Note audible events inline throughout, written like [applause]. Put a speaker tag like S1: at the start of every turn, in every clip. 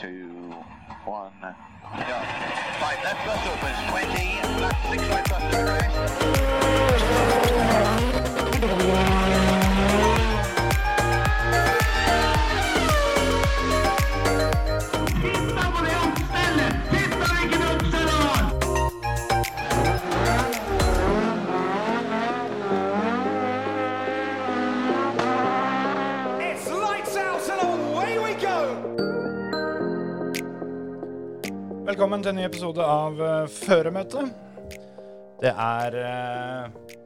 S1: two, one, go. Right, left bus opens, 20, left six right bus to crest.
S2: It's lights out and away we go!
S3: Velkommen til en ny episode av eh, Føremøtet. Det er eh,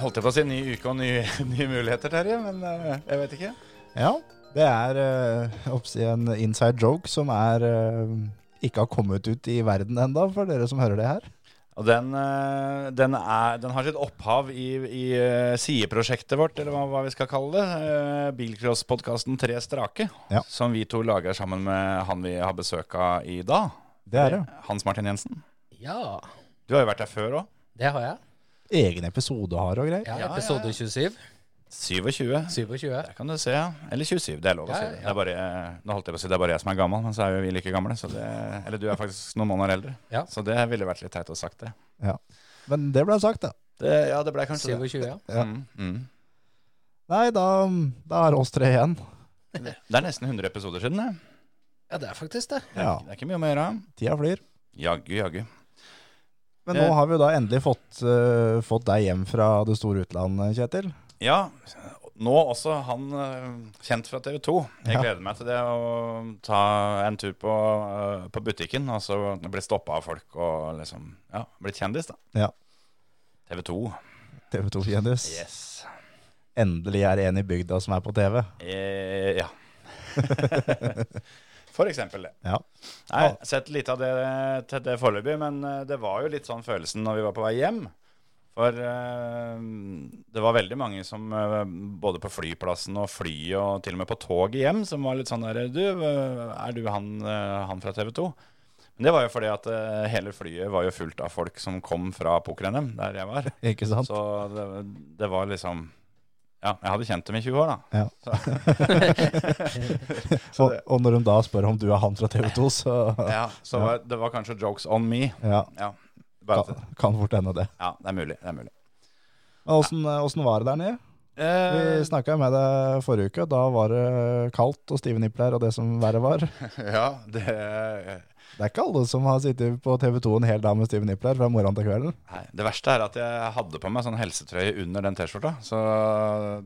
S3: Holdt jeg på å si ny [laughs] uke og nye, nye muligheter, Terje, men eh, jeg vet ikke.
S4: Ja, det er eh, oppsi en inside joke som er eh, ikke har kommet ut i verden enda for dere som hører det her.
S3: Og den, eh, den, er, den har sitt opphav i, i eh, sideprosjektet vårt, eller hva, hva vi skal kalle det. eh, Bilcross-podkasten Tre strake,
S4: Ja.
S3: som vi to lager sammen med han vi har besøk av i dag.
S4: Det er det.
S3: Hans Martin Jensen.
S5: Ja,
S3: Du har jo vært der før òg.
S5: det har jeg.
S4: Egen episode har og greier.
S5: Ja,
S3: Ja,
S5: episode
S3: ja, ja.
S5: 27.
S3: 27.
S5: 27.
S3: Det kan du se, ja. Eller 27, det er lov å
S5: Ja,
S3: si.
S5: ja,
S3: det.
S5: ja.
S3: Det er bare, eh, nå holdt jeg på å si det er bare jeg som er gammel, men så er jo vi like gamle. Så det, eller du er faktisk noen måneder eldre.
S5: Ja.
S3: Så det ville vært litt teit å ha sagt det.
S4: Ja. Men det ble sagt, da.
S3: det. Ja, det ble kanskje det.
S5: 27, ja.
S4: Ja.
S3: Mm, mm.
S4: Nei, da, da er oss tre igjen.
S3: Det er nesten 100 episoder siden, det.
S5: Ja, det er faktisk det.
S4: Ja,
S3: Det er ikke mye å gjøre.
S4: Tida flyr.
S3: Jaggu, jaggu.
S4: Men
S3: Det-
S4: nå har vi jo da endelig fått, eh, fått deg hjem fra det store utlandet, Kjetil.
S3: Ja, nå også han eh, kjent fra TV 2. Jeg
S4: Ja.
S3: gleder meg til det å ta en tur på, eh, på butikken, altså og så bli stoppa av folk og liksom Ja, blitt kjendis, da.
S4: Ja.
S3: TV 2.
S4: TV 2-kjendis.
S3: Yes.
S4: Endelig er det en i bygda som er på TV.
S3: Eh, ja. [laughs] For eksempel det.
S4: Ja.
S3: Nei, jeg har sett lite av det til det foreløpig, men eh, det var jo litt sånn følelsen når vi var på vei hjem. For eh, det var veldig mange som eh, både på flyplassen og flyet og til og med på toget hjem, som var litt sånn der Du, eh, er du han, eh, han fra TV 2? Men det var jo fordi at eh, hele flyet var jo fullt av folk som kom fra poker-NM, der jeg var.
S4: Ikke sant?
S3: Så det, det var liksom Ja, jeg hadde kjent dem i 20 år, da.
S4: Ja. og, og når de da spør om du er han fra TV 2, så
S3: Ja, så
S4: Ja.
S3: var- det var kanskje jokes on me.
S4: ja,
S3: Ja, bare at,
S4: kan, kan fort hende det.
S3: ja det er mulig. Det er mulig.
S4: Men åssen, åssen var det der nede? Vi
S3: Eh,
S4: snakka med deg forrige uke. Da var det kaldt og stive nipler og det som verre var. Det
S3: [laughs] ja, det,
S4: er ikke alle som har sittet på TV 2 en hel dag med stive nipler fra morgenen til kvelden.
S3: nei, det verste er at jeg hadde på meg sånn helsetrøye under den T-skjorta. Så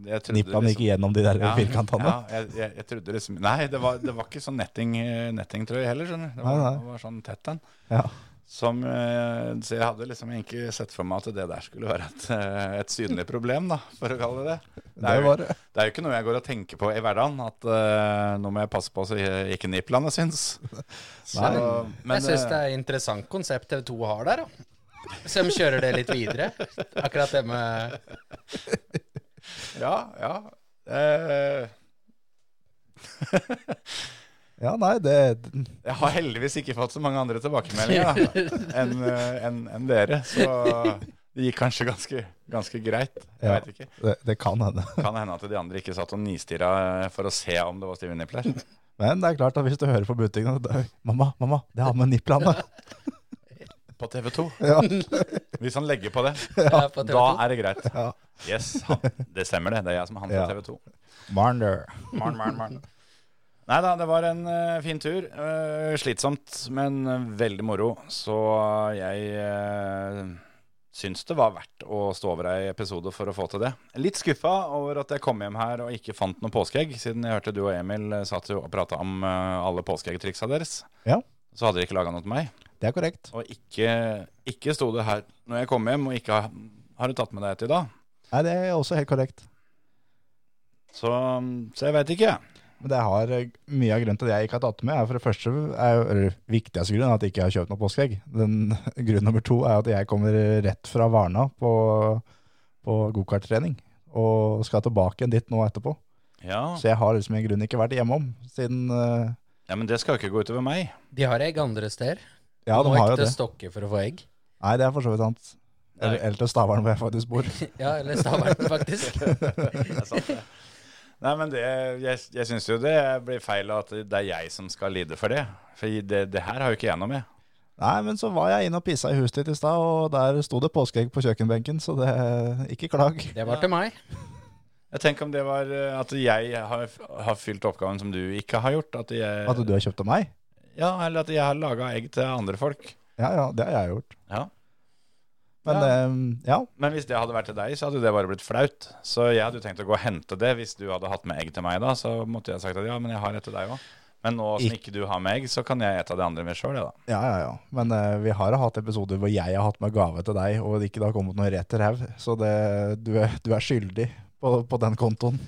S3: jeg trodde
S4: Niplene gikk gjennom de der firkantene.
S3: liksom- Ja, jeg, jeg, jeg trodde liksom Nei, det var, det var ikke sånn netting, nettingtrøye heller, skjønner du. Det var,
S4: Nei, nei.
S3: det var sånn tett en.
S4: Ja.
S3: Som, eh, så jeg hadde liksom egentlig sett for meg at det der skulle være et, eh, et synlig problem, da, for å kalle det det. Det
S4: Det
S3: er jo-
S4: var det.
S3: Det er jo ikke noe jeg går og tenker på i hverdagen, at eh, nå må jeg passe på så ikke niplene syns. Så,
S4: Nei.
S3: men,
S5: jeg syns
S3: eh,
S5: det er et interessant konsept TV 2 har der, da. Så de kjører det litt videre. Akkurat det med
S3: Ja, ja. Eh,
S4: Ja, nei, det
S3: jeg har heldigvis ikke fått så mange andre tilbakemeldinger da,
S5: [laughs]
S3: enn eh, enn- enn dere, så det gikk kanskje ganske, ganske greit. Jeg
S4: Ja.
S3: vet ikke.
S4: det, det kan hende. [laughs]
S3: Kan hende at de andre ikke satt og nistirra for å se om det var Steven Nippler.
S4: Men det er klart at hvis du hører på butikken da- 'Mamma, mamma, det har med niplene'.
S3: [laughs] På TV 2.
S4: Ja.
S3: Hvis han legger på det,
S5: ja, på TV 2.
S3: da er det greit.
S4: Ja.
S3: Yes, han, det stemmer det. Det er jeg som er han
S4: Ja.
S3: på TV 2.
S4: Marner.
S3: Morn, morn, morn. Nei da, det var en eh, fin tur. Eh, slitsomt, men veldig moro. Så jeg uh, syns det var verdt å stå over ei episode for å få til det. Litt skuffa over at jeg kom hjem her og ikke fant noe påskeegg, siden jeg hørte du og Emil eh, satt jo og prata om eh, alle påskeeggtriksa deres.
S4: Ja.
S3: Så hadde dere ikke laga noe til meg.
S4: Det er korrekt.
S3: Og ikke, ikke sto det her når jeg kom hjem, og ikke har, har du tatt med deg et i dag.
S4: Nei, det er også helt korrekt.
S3: Så, så jeg veit ikke, jeg.
S4: Men det har eh, mye av grunnen til det jeg ikke har tatt med, er for det første er jo, eller, viktigste grunnen er at jeg ikke har kjøpt noe påskeegg. Den [laughs] grunn nummer to er at jeg kommer rett fra Varna på, på gokarttrening og skal tilbake igjen dit nå etterpå.
S3: Ja.
S4: Så jeg har liksom i grunnen ikke vært hjemme om siden eh,
S3: ja, men det skal jo ikke gå utover meg.
S5: De har egg andre steder.
S4: Ja, de
S5: Må
S4: har
S5: ikke
S4: jo
S5: til
S4: det.
S5: Stokke for å få egg.
S4: Nei, det er for så vidt sant. Eller,
S3: Nei.
S4: eller til Stavern hvor jeg faktisk bor.
S5: Ja, eller Stavern, faktisk.
S3: Det er sant, det. Nei, men det, jeg, jeg syns jo det blir feil at det er jeg som skal lide for det. For det, det her har jo ikke jeg noe med.
S4: Nei, men så var jeg inne og pissa i huset ditt i stad, og der sto det påskeegg på kjøkkenbenken, så det ikke klag.
S5: Det var til meg.
S3: Jeg tenker om det var eh, at jeg har, har fylt oppgaven som du ikke har gjort. At jeg,
S4: At du har kjøpt av meg?
S3: Ja, eller at jeg har laga egg til andre folk.
S4: Ja, ja, det har jeg gjort.
S3: Ja.
S4: Men
S3: Ja.
S4: ehm, ja,
S3: Men hvis det hadde vært til deg, så hadde jo det bare blitt flaut. Så jeg hadde jo tenkt å gå og hente det. Hvis du hadde hatt med egg til meg da, så måtte jeg sagt at ja, men jeg har et til deg òg. Men nå som ikke du har med egg, så kan jeg et av det andre med sjøl, jeg, da.
S4: ja, ja, ja. Men eh, vi har hatt episoder hvor jeg har hatt med gave til deg, og det ikke det har kommet noe rett til ræv. Så det, du, er, du er skyldig på, på den kontoen.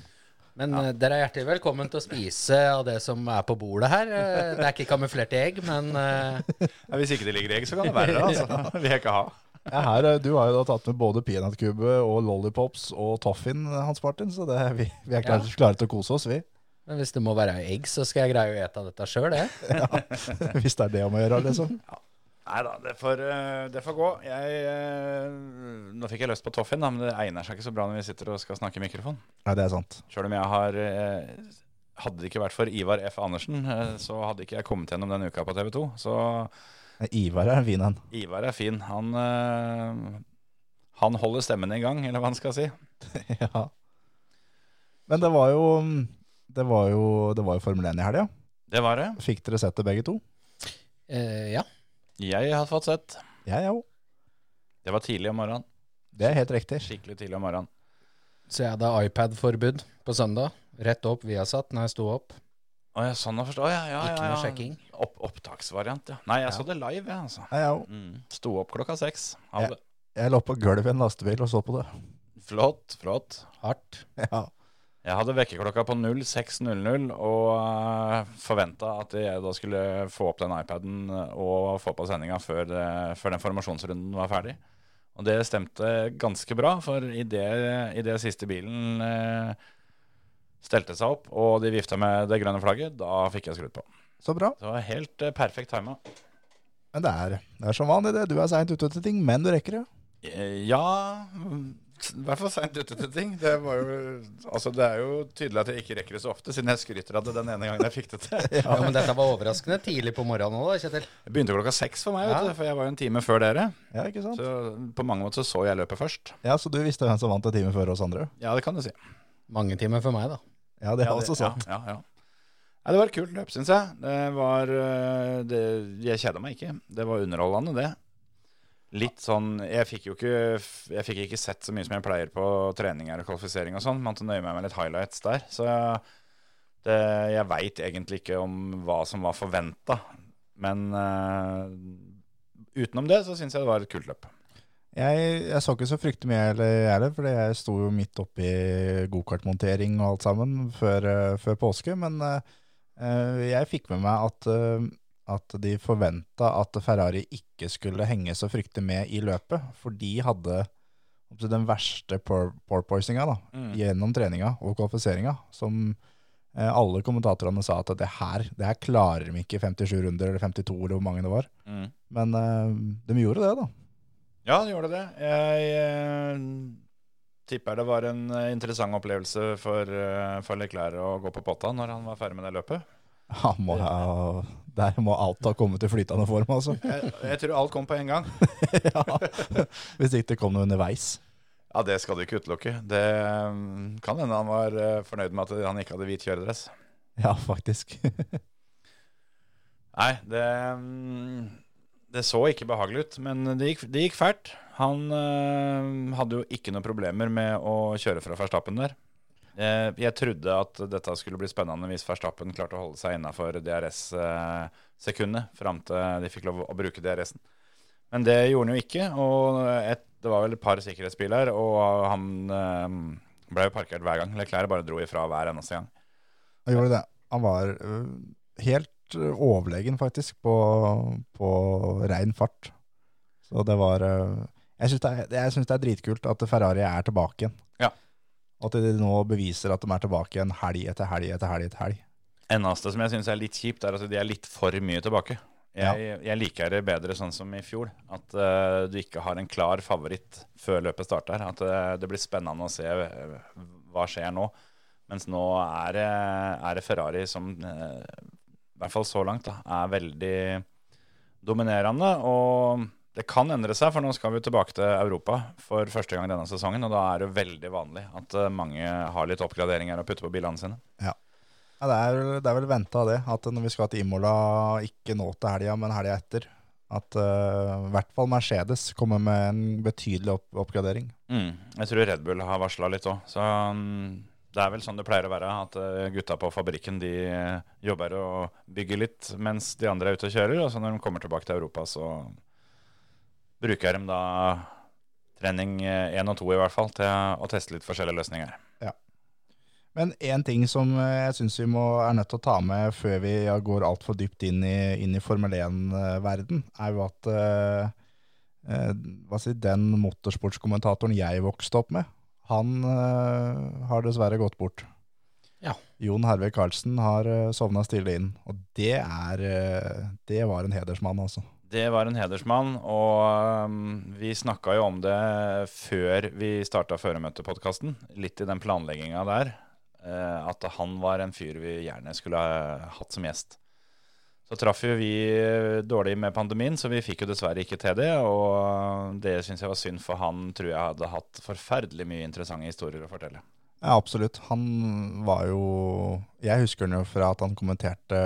S5: Men eh, dere er hjertelig velkommen til å spise av det som er på bordet her. Eh, Det er ikke kamuflerte egg, men eh,
S3: Ja, hvis ikke det ligger egg, så kan det være det.
S4: [laughs]
S3: Altså. Det vil jeg ikke ha.
S4: Ja, her, eh, du har jo da tatt med både peanøttkube og lollipops og toffin, eh, Hans Martin, så det, vi, vi er klare, klare til å kose oss, vi. [laughs]
S5: men hvis det må være egg, så skal jeg greie å ete av dette sjøl, jeg.
S4: Hvis det er det om å gjøre, liksom.
S3: Nei da, det, får, eh, det får gå. Jeg, eh, nå fikk jeg lyst på toffin, da, men det egner seg ikke så bra når vi sitter og skal snakke i mikrofon.
S4: Nei, det er sant.
S3: Sjøl om jeg har eh, Hadde det ikke vært for Ivar F. Andersen, eh, så hadde ikke jeg kommet gjennom den uka på TV 2. Så
S4: Ivar er en fin en.
S3: Ivar er fin. Han, eh, han holder stemmen i gang, eller hva han skal si.
S4: [laughs] Ja. Men det var jo mm, Det var jo, det var jo Formel 1 i helga.
S3: Det var det.
S4: Fikk dere sett det begge to?
S5: Eh, ja.
S3: Jeg har fått sett.
S4: Jeg òg.
S3: Det var tidlig om morgenen.
S4: Det er helt riktig.
S3: Skikkelig tidlig om morgenen.
S5: Så jeg hadde iPad-forbud på søndag. Rett opp Viasat når jeg sto opp.
S3: Å ja, sånn å forstå. Ja, ja, ja,
S5: Ikke
S3: ja.
S5: noe sjekking.
S3: Opp, opptaksvariant, ja. Nei, jeg så det live, jeg, altså.
S4: Nei, Jeg, også.
S3: Mm. Sto opp klokka seks. Hadde-
S4: jeg lå på gulvet i en lastebil og så på det. [laughs]
S3: Flott, flott.
S5: Hardt.
S4: Ja.
S3: Jeg hadde vekkerklokka på 06.00 og uh, forventa at jeg da skulle få opp den iPaden og få på sendinga før, eh, før den formasjonsrunden var ferdig. Og det stemte ganske bra, for i det, i det siste bilen eh, stelte seg opp og de vifta med det grønne flagget, da fikk jeg skrudd på.
S4: Så bra.
S3: Det var helt eh, perfekt tima.
S4: Men det er, det er som vanlig, det. Du er seint ute til ting, men du rekker det.
S3: Eh, Ja I hvert fall seint ute til ting. Det, var jo, altså det er jo tydelig at jeg ikke rekker det så ofte, siden jeg skryter av det den ene gangen jeg fikk det [laughs] til.
S5: Ja, men dette var overraskende tidlig på morgenen òg, da, Kjetil.
S3: Det begynte klokka seks for meg, vet
S5: Ja.
S3: du, for jeg var jo en time før dere.
S4: Ja, ikke sant?
S3: Så på mange måter så så jeg løpet først.
S4: Ja, Så du visste hvem som vant en time før oss andre?
S3: Ja, det kan du si.
S5: Mange timer for meg, da.
S4: Ja, det er
S3: Ja,
S4: også
S3: ja,
S4: sant.
S3: ja, ja. Nei, det var et kult løp, syns jeg. Det var øh, det, Jeg kjeda meg ikke. Det var underholdende, det. Litt sånn Jeg fikk jo ikke Jeg fikk ikke sett så mye som jeg pleier på treninger og kvalifisering og sånn. Måtte nøye meg med litt highlights der. Så jeg, det, jeg veit egentlig ikke om hva som var forventa. Men øh, utenom det så syns jeg det var et kult løp.
S4: Jeg, jeg så ikke så fryktelig mye heller, jeg heller, fordi jeg sto jo midt oppi gokartmontering og alt sammen før, eh, før påske, men eh, eh, jeg fikk med meg at, eh, at de forventa at Ferrari ikke skulle henge så fryktelig med i løpet, for de hadde opp til den verste por- porpoisinga da,
S3: Mm.
S4: gjennom treninga og kvalifiseringa, som eh, alle kommentatorene sa at det her, det her klarer de ikke i 57 runder eller 52 eller hvor mange det var.
S3: Mm.
S4: Men eh, de gjorde det, da.
S3: Ja, det gjorde det. Jeg eh, tipper det var en eh, interessant opplevelse for, eh, for Leclerc å gå på potta når han var ferdig med det løpet.
S4: Han må ha, der må alt ha kommet i flytende form, altså. [laughs]
S3: Jeg, jeg tror alt kom på en gang.
S4: ja. Hvis ikke det kom noe underveis.
S3: Ja, det skal du ikke utelukke. Det eh, kan hende han var eh, fornøyd med at han ikke hadde hvit kjøredress.
S4: Ja, faktisk. [laughs]
S3: Nei, det, mm, det så ikke behagelig ut, men det gikk, det gikk fælt. Han eh, hadde jo ikke noen problemer med å kjøre fra Verstappen der. Eh, jeg trodde at dette skulle bli spennende hvis Verstappen klarte å holde seg innafor DRS-sekundet fram til de fikk lov å bruke DRS-en. Men det gjorde han jo ikke, og et, det var vel et par sikkerhetsbiler, og han eh, ble jo parkert hver gang. Leclerc bare dro ifra hver eneste gang.
S4: Han gjorde det. Han var øh, helt øh, overlegen, faktisk, på, på rein fart. Så det var øh, Jeg syns det, er- jeg synes det er dritkult at Ferrari er tilbake igjen.
S3: Ja.
S4: At de nå beviser at de er tilbake igjen helg etter helg etter helg etter helg.
S3: eneste som jeg syns er litt kjipt, er at de er litt for mye tilbake. Jeg, jeg liker det bedre sånn som i fjor, at eh, du ikke har en klar favoritt før løpet starter. At eh, det blir spennende å se eh, hva skjer nå. Mens nå er, det- er det Ferrari som, eh, i hvert fall så langt, da, er veldig dominerende. Og det kan endre seg, for nå skal vi tilbake til Europa for første gang denne sesongen. Og da er det veldig vanlig at eh, mange har litt oppgraderinger å putte på bilene sine.
S4: Ja, det, er, vel- det er vel venta det, at når vi skal til Imola, ikke nå til helga, men helga etter, at eh, i hvert fall Mercedes kommer med en betydelig opp oppgradering.
S3: Mm. Jeg tror Red Bull har varsla litt òg. Så mm, det er vel sånn det pleier å være. At eh, gutta på fabrikken de eh, jobber og bygger litt mens de andre er ute og kjører. Og så når de kommer tilbake til Europa, så bruker de da trening én og to i hvert fall til å teste litt forskjellige løsninger.
S4: Men én ting som eh, jeg syns vi må, er nødt til å ta med før vi går altfor dypt inn i, inn i Formel 1-verden, er jo at eh, eh, hva si, den motorsportskommentatoren jeg vokste opp med, han eh, har dessverre gått bort.
S5: Ja.
S4: Jon Herve Karlsen har eh, sovna stille inn, og det er eh, Det var en hedersmann, altså.
S3: Det var en hedersmann, og um, vi snakka jo om det før vi starta Føremøtepodkasten. Litt i den planlegginga der. eh, At han var en fyr vi gjerne skulle ha hatt som gjest. Så traff jo vi eh, dårlig med pandemien, så vi fikk jo dessverre ikke til det. Og eh, det syns jeg var synd, for han tror jeg hadde hatt forferdelig mye interessante historier å fortelle.
S4: Ja, absolutt. Han var jo Jeg husker han jo fra at han kommenterte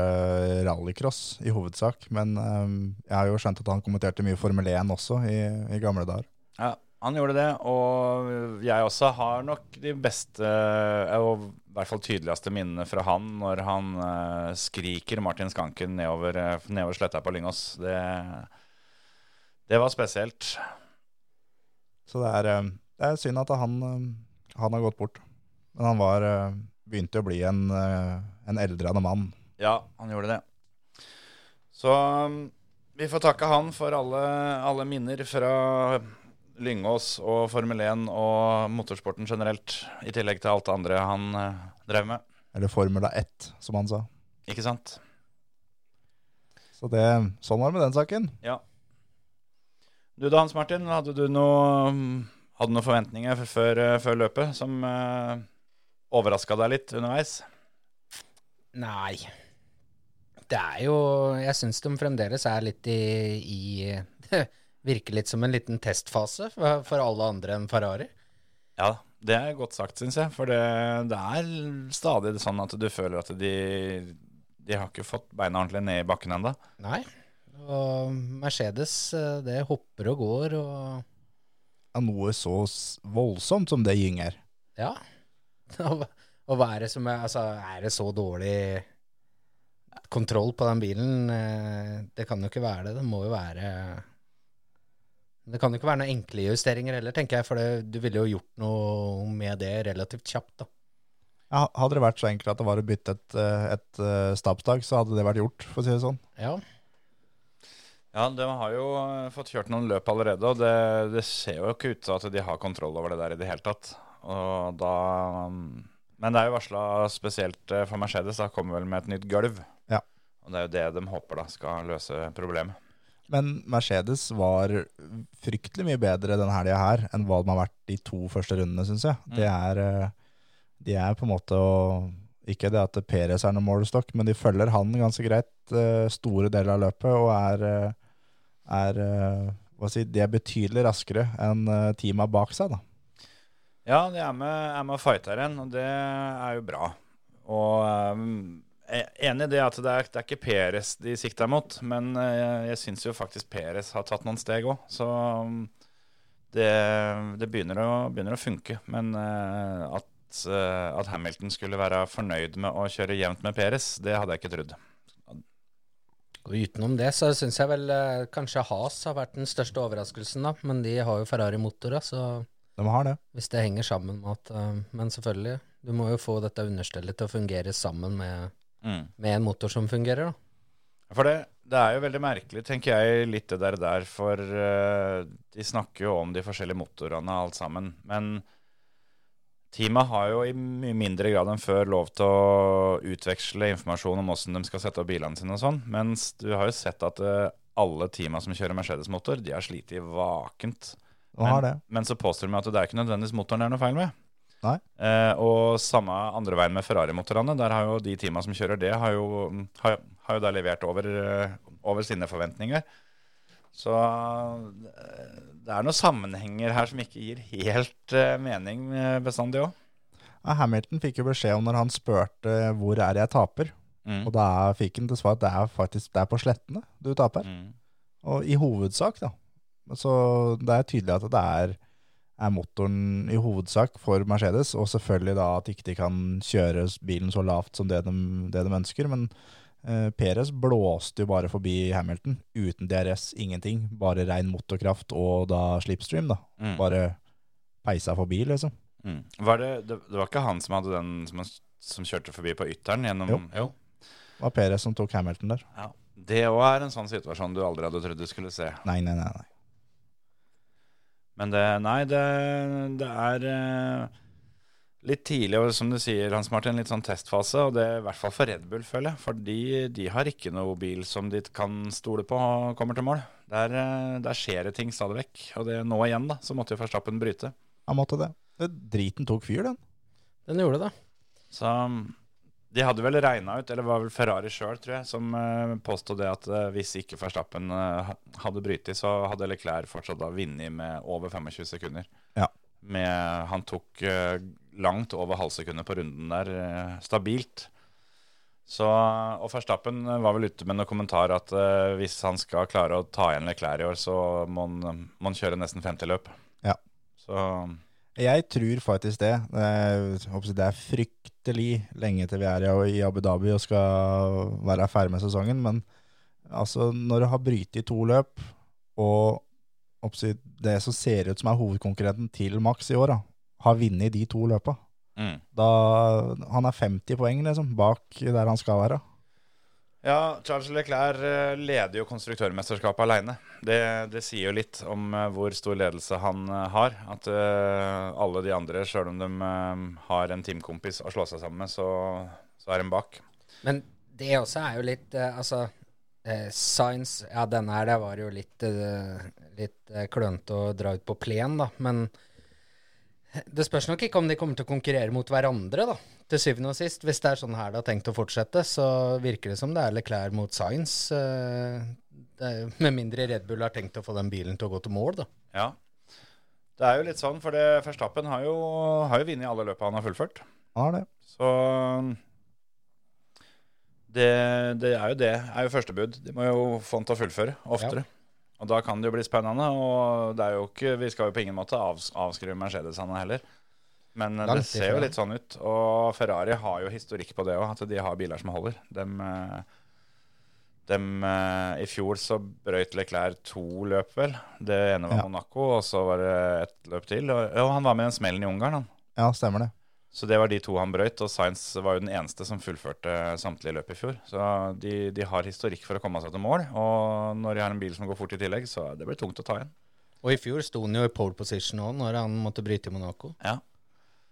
S4: rallycross i hovedsak. Men eh, jeg har jo skjønt at han kommenterte mye Formel 1 også i, i gamle dager.
S3: Ja, han gjorde det, og jeg også har nok de beste, og i hvert fall tydeligste minnene fra han når han eh, skriker Martin Skanken nedover, eh, nedover sletta på Lyngås. Det, det var spesielt.
S4: Så det er, eh, det er synd at han, eh, han har gått bort. Men han var, eh, begynte å bli en, eh, en eldrende mann.
S3: Ja, han gjorde det. Så um, vi får takke han for alle, alle minner fra Lyngås og Formel 1 og motorsporten generelt, i tillegg til alt det andre han eh, drev med.
S4: Eller Formula 1, som han sa.
S3: Ikke sant?
S4: Så det, sånn var det med den saken.
S3: Du da, Hans Martin, hadde du noe, mm, hadde du noen forventninger f- før, eh, før løpet som uh, overraska deg litt underveis?
S5: Nei. Det er jo Jeg syns de fremdeles er litt i, i [laughs] Det virker litt som en liten testfase for, for alle andre enn Ferrari.
S3: Ja, det er godt sagt, syns jeg. For det, det er stadig sånn at du føler at de, de har ikke fått beina ordentlig ned i bakken ennå.
S5: Nei. Og Mercedes, eh, det hopper og går og
S4: Ja, noe så s- voldsomt som det Gyng er.
S5: Ja. [laughs] Og, hva- og hva er det som er Altså, er det så dårlig kontroll på den bilen? Eh, Det kan jo ikke være det. Det må jo være Det kan jo ikke være noen enkle justeringer heller, tenker jeg, for det, du ville jo gjort noe med det relativt kjapt, da.
S4: Ja, hadde det vært så enkelt at det var å bytte et, eh, et eh, stabstak, så hadde det vært gjort, for å si det sånn.
S5: Ja.
S3: Ja, de har jo eh, fått kjørt noen løp allerede, og det, det ser jo ikke ut til at de har kontroll over det der i det hele tatt. Og da mm, Men det er jo varsla spesielt eh, for Mercedes, da kommer vel med et nytt gulv.
S4: Ja.
S3: Og det er jo det de håper da skal løse problemet.
S4: Men Mercedes var fryktelig mye bedre denne helga her enn hva de har vært de to første rundene, syns jeg. Det er, eh, de er på en måte å Ikke det at Perez er noen målestokk, men de følger han ganske greit eh, store deler av løpet og er, eh, er eh, hva si, De er betydelig raskere enn eh, teama bak seg, da.
S3: Ja, de er med, er med og fighter igjen, og det er jo bra. Og um, jeg er enig i det at det er, det er ikke Peres de sikter mot, men eh, jeg, jeg syns jo faktisk Peres har tatt noen steg òg, så um, det, det begynner, å, begynner å funke. Men eh, at, eh, at Hamilton skulle være fornøyd med å kjøre jevnt med Peres, det hadde jeg ikke trodd.
S5: Og utenom det så syns jeg vel eh, kanskje Has har vært den største overraskelsen, da. Men de har jo Ferrari-motorer, så
S4: De har det.
S5: hvis det henger sammen med at eh, Men selvfølgelig, du må jo få dette understellet til å fungere sammen med,
S3: Mm.
S5: med en motor som fungerer, da.
S3: For det, det er jo veldig merkelig, tenker jeg, litt det der der, for eh, de snakker jo om de forskjellige motorene og alt sammen. Men teamet har jo i mye mindre grad enn før lov til å utveksle informasjon om åssen de skal sette opp bilene sine og sånn. Mens du har jo sett at eh, alle teama som kjører Mercedes-motor, de har slitt vakent.
S4: De har det.
S3: Men så påstår de at det er ikke nødvendigvis motoren det er noe feil med.
S4: Nei.
S3: Eh, og samme andre veien med Ferrari-motorene. Der har jo de teama som kjører det, har jo, mm, har, har jo da levert over, eh, over sine forventninger. Så eh, det er noen sammenhenger her som ikke gir helt eh, mening eh, bestandig òg.
S4: Ja, Hamilton fikk jo beskjed om når han spurte hvor er jeg taper.
S3: Mm.
S4: Og da fikk han til svar at det er faktisk det er på slettene du taper.
S3: Mm.
S4: Og i hovedsak, da. Så det er tydelig at det er, er motoren i hovedsak for Mercedes, og selvfølgelig da at ikke de kan kjøre bilen så lavt som det de, det de ønsker. Men eh, Perez blåste jo bare forbi Hamilton uten DRS, ingenting. Bare rein motorkraft og da slipstream, da.
S3: Mm.
S4: Bare peisa forbi, liksom.
S3: Mm. Var det, det, det var ikke han som hadde den som, han- som kjørte forbi på ytteren gjennom
S4: Jo. Det var Perez som tok Hamilton der.
S3: Ja. Det òg er en sånn situasjon du aldri hadde trodd du skulle se.
S4: Nei, nei, nei. nei.
S3: Men det, nei, det, det er eh, litt tidlig, og som du sier, Hans Martin, litt sånn testfase. Og det er i hvert fall for Red Bull, føler jeg. For de, de har ikke noe bil som de kan stole på og kommer til mål. Der, eh, der skjer det ting stadig vekk. Og det, nå igjen, da, så måtte jo Verstappen bryte.
S4: Han måtte det. Driten tok fyr, den.
S5: Den gjorde det.
S3: Så um, de hadde vel regna ut, eller var vel Ferrari sjøl, tror jeg, som eh, påstod det at eh, hvis ikke Verstappen eh, ha- hadde brytet, så hadde Leclerc fortsatt da vunnet med over 25 sekunder.
S4: Ja.
S3: Med, han tok eh, langt over halvsekundet på runden der, eh, stabilt. Så, eh, og Verstappen var vel ute med noen kommentar at eh, hvis han skal klare å ta igjen Leclerc i år, så må han, eh, må han kjøre nesten 50 løp.
S4: Ja.
S3: Så
S4: Jeg tror faktisk det. Det er, jeg håper å si, det er fryktelig lenge til vi er i- i Abu Dhabi og skal være ferdig med sesongen, men altså, når du har brytet i to løp, og jeg håper å si, det som ser ut som er hovedkonkurrenten til Max i år, da, har vunnet i de to løpa.
S3: mm.
S4: Da, han er 50 poeng liksom, bak der han skal være.
S3: Ja, Charles Leclerc eh, leder jo konstruktørmesterskapet alene. Det, det sier jo litt om eh, hvor stor ledelse han eh, har. At eh, alle de andre, sjøl om de eh, har en teamkompis å slå seg sammen med, så, så er de bak.
S5: Men det også er jo litt eh, Altså, eh, Science Ja, denne her, det var jo litt, eh, litt eh, klønete å dra ut på plen, da. Men det spørs nok ikke om de kommer til å konkurrere mot hverandre, da. Til syvende og sist. Hvis det er sånn her det har tenkt å fortsette, så virker det som det er Leclerc mot Science. eh, det er, jo- med mindre Red Bull har tenkt å få den bilen til å gå til mål, da.
S3: Ja. Det er jo litt sånn, for det, Verstappen har jo, har jo vunnet alle løpa han har fullført.
S4: Han har det.
S3: Så det, det er jo det. er jo første bud. De må jo få han til å fullføre oftere. Og da kan det jo bli spennende. Og det er jo ikke, vi skal jo på ingen måte avs avskrive Mercedesene heller. Men
S5: Langt
S3: det ser
S5: ifra.
S3: jo litt sånn ut. Og Ferrari har jo historikk på det òg, at de har biler som holder. Dem, eh, dem, eh, I fjor så brøyt Leclerc to løp, vel. Det ene var
S4: Ja.
S3: Monaco, og så var det ett løp til. Og, og han var med i den smellen i Ungarn, han.
S4: Ja, stemmer det.
S3: Så det var de to han brøyt, og Sainz var jo den eneste som fullførte samtlige løp i fjor. Så de, de har historikk for å komme seg til mål, og når de har en bil som går fort i tillegg, så det blir tungt å ta igjen.
S5: Og i fjor sto han jo i pole position òg, når han måtte bryte i Monaco.
S3: Ja.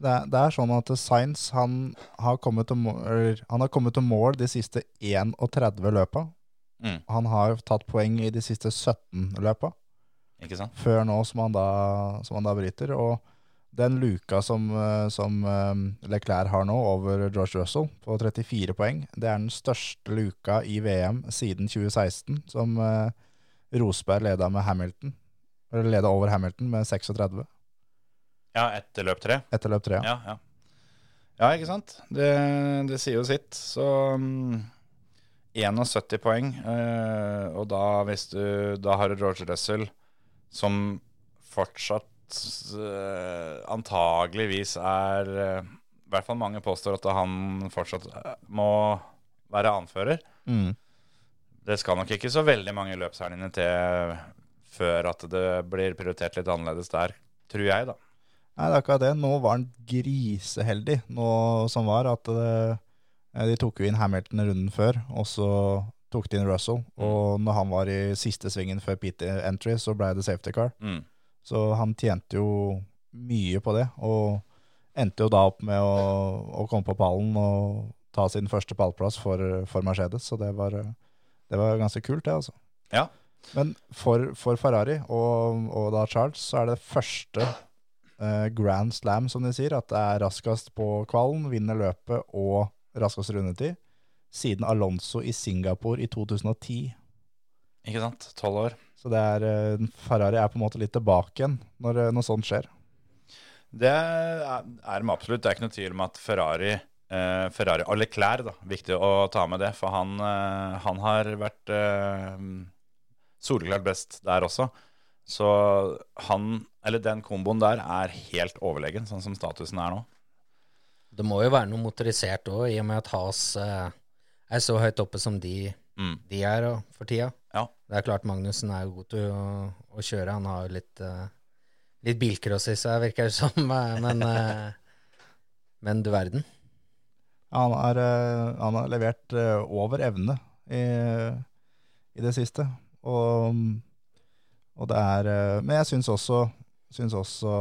S4: Det er, det er sånn at Sainz han har kommet til mål, eller, han har kommet til mål de siste 31 løpa.
S3: Mm.
S4: Han har tatt poeng i de siste 17 løpa,
S3: Ikke sant?
S4: før nå som han da, som han da bryter. Og den luka som, eh, som eh, Leclerc har nå over George Russell på 34 poeng, det er den største luka i VM siden 2016, som eh, Rosberg leda med Hamilton. Eller leda over Hamilton med 36
S3: Ja, etter løp tre.
S4: etter løp tre. Ja.
S3: Ja, ja. ja ikke sant? Det, det sier jo sitt. Så mm, 71 poeng, eh, og da, hvis du, da har du George Russell, som fortsatt eh, antageligvis er eh, I hvert fall mange påstår at han fortsatt eh, må være anfører.
S4: Mm.
S3: Det skal nok ikke så veldig mange løpshelgene til før at det blir prioritert litt annerledes der, tror jeg, da.
S4: Nei, det er akkurat det. Nå var han griseheldig, nå som var at eh, de tok jo inn Hamilton runden før, og så tok de inn Russell. Og når han var i siste svingen før pit entry, så ble det safety car.
S3: Mm.
S4: Så han tjente jo mye på det, og endte jo da opp med å, å komme på pallen og ta sin første pallplass for, for Mercedes, så det var, det var ganske kult det, altså.
S3: Ja.
S4: Men for, for Ferrari og, og da Charles, så er det første eh, grand slam, som de sier, at det er raskest på kvalen, vinner løpet og raskest rundetid, siden Alonso i Singapore i 2010.
S3: Ikke sant? Tolv år.
S4: Så det er, eh, Ferrari er på en måte litt tilbake igjen når, eh, når sånt skjer.
S3: Det er er de absolutt. Det er ikke noe tvil om at Ferrari eh, Ferrari og Leclerc, da, viktig å ta med det, for han, eh, han har vært eh, soleklart best der også. Så han, eller den komboen der, er helt overlegen, sånn som statusen er nå.
S5: Det må jo være noe motorisert òg, i og med at Has eh, er så høyt oppe som de,
S3: Mm.
S5: de er og, for tida.
S3: Ja.
S5: Det er klart Magnussen er jo god til å, å kjøre. Han har jo litt, eh, litt bilcross i seg, virker det som. eh, Men, eh, men du verden.
S4: Han, er, eh, han har levert eh, over evne i, i det siste. Og, og det er eh, Men jeg syns også, syns også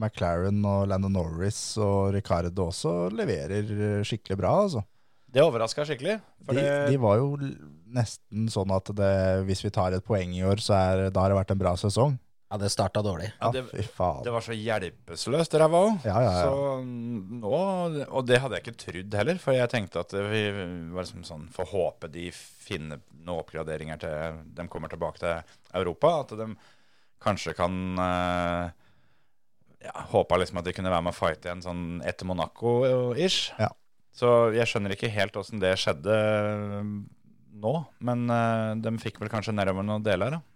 S4: McLaren og Landon Norris og Ricardo også leverer skikkelig bra, altså.
S3: Det overraska skikkelig. For
S4: De,
S3: det-
S4: de var jo l- nesten sånn at det, hvis vi tar et poeng i år, så er, da har det vært en bra sesong.
S5: Ja, det starta dårlig.
S3: ja,
S4: Ja,
S3: det,
S4: fy faen.
S3: Det var så hjelpeløst, det ræva òg.
S4: Ja, ja, ja.
S3: Så mm, nå Og det hadde jeg ikke trodd heller, for jeg tenkte at vi var liksom sånn Får håpe de finner noen oppgraderinger til de kommer tilbake til Europa. At de kanskje kan eh, ja, Håpa liksom at de kunne være med og fighte igjen sånn etter Monaco-ish.
S4: Ja.
S3: Så jeg skjønner ikke helt åssen det skjedde eh, nå, men eh, de fikk vel kanskje nedover noen deler, da.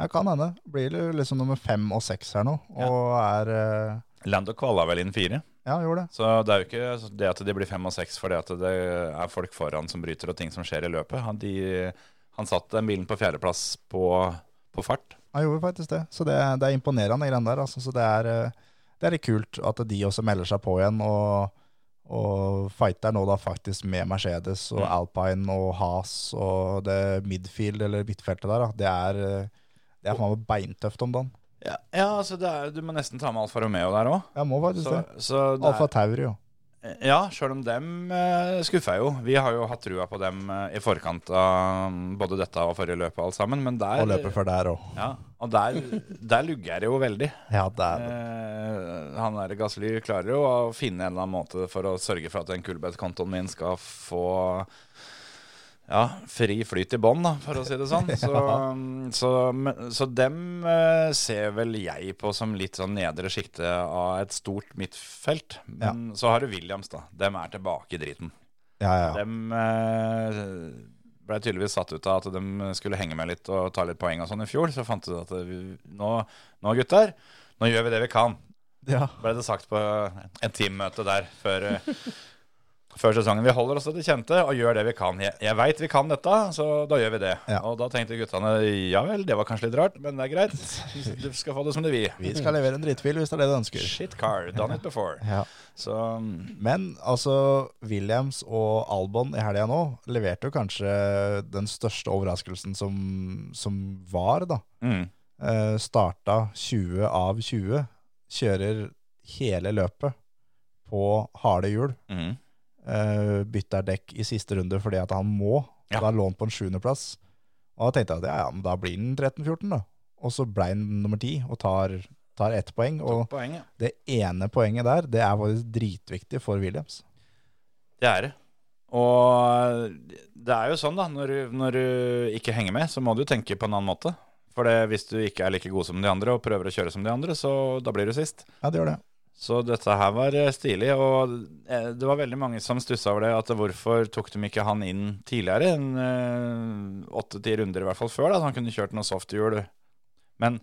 S4: Ja, kan hende. Blir det liksom nummer fem og seks her nå, og er eh,
S3: Lando kvala vel inn fire.
S4: Ja, gjorde det.
S3: Så det er jo ikke det at de blir fem og seks fordi at det er folk foran som bryter og ting som skjer i løpet. Han, de, han satte den bilen på fjerdeplass på, på fart.
S4: Han gjorde faktisk det, så det, det er imponerende greiene der. Altså. Så det er, eh, det er litt kult at de også melder seg på igjen og, og fighter nå da faktisk med Mercedes og
S3: Mm.
S4: Alpine og Haas og det midfield eller midtfeltet der. Da. Det er, eh, det er faen meg beintøft om dagen.
S3: Ja, altså det er, du må nesten ta med Alfa Romeo der òg.
S4: Jeg må faktisk
S3: Så,
S4: det.
S3: så det
S4: Alfa Tauri, jo.
S3: er, ja, sjøl om dem eh, skuffer jo. Vi har jo hatt trua på dem eh, i forkant av både dette og forrige løpet og alt sammen, men der
S4: Og løper før der òg.
S3: Ja, og der, der lugger det jo veldig.
S4: Ja, det er
S3: Eh, han der Gasly klarer jo å finne en eller annen måte for å sørge for at den kullbettkontoen min skal få ja, fri flyt i bånn, da, for å si det sånn. Så, så, men- så dem eh, ser vel jeg på som litt sånn nedre sjikte av et stort midtfelt. Men så har du Williams, da. Dem er tilbake i driten.
S4: Ja, ja. ja.
S3: Dem eh, ble tydeligvis satt ut av at de skulle henge med litt og ta litt poeng og sånn i fjor. Så fant de ut at vi, nå, nå gutter, nå gjør vi det vi kan.
S4: ja.
S3: Ble det sagt på en teammøte der før, eh, før sesongen. Vi holder oss til det kjente og gjør det vi kan. Jeg, jeg veit vi kan dette, så da gjør vi det.
S4: Ja.
S3: Og da tenkte guttene ja vel, det var kanskje litt rart, men det er greit. Du skal få det som du vil.
S4: Vi skal levere en drittbil hvis det er det du ønsker.
S3: Shit car, done it before.
S4: Ja.
S3: Så
S4: Men altså, Williams og Albon i helga nå leverte jo kanskje den største overraskelsen som, som var, da.
S3: mm,
S4: Eh, starta 20 av 20, kjører hele løpet på harde hjul.
S3: mm.
S4: Eh, bytter dekk i siste runde fordi at han må.
S3: Ja.
S4: Da lå han på en sjuendeplass. Og da tenkte jeg at ja, ja, men da blir han 13-14, da. Og så ble han nummer 10 og tar, tar ett poeng. Og
S3: Poeng, ja.
S4: det ene poenget der, det er faktisk dritviktig for Williams.
S3: Det er det. Og det er jo sånn, da. Når du, når du ikke henger med, så må du tenke på en annen måte. For det, hvis du ikke er like god som de andre og prøver å kjøre som de andre, så da blir du sist.
S4: Ja, det gjør det.
S3: Så dette her var eh, stilig, og eh, det var veldig mange som stussa over det. At hvorfor tok de ikke han inn tidligere? En åtte-ti runder i hvert fall før, da. at Han kunne kjørt noe softhjul. Men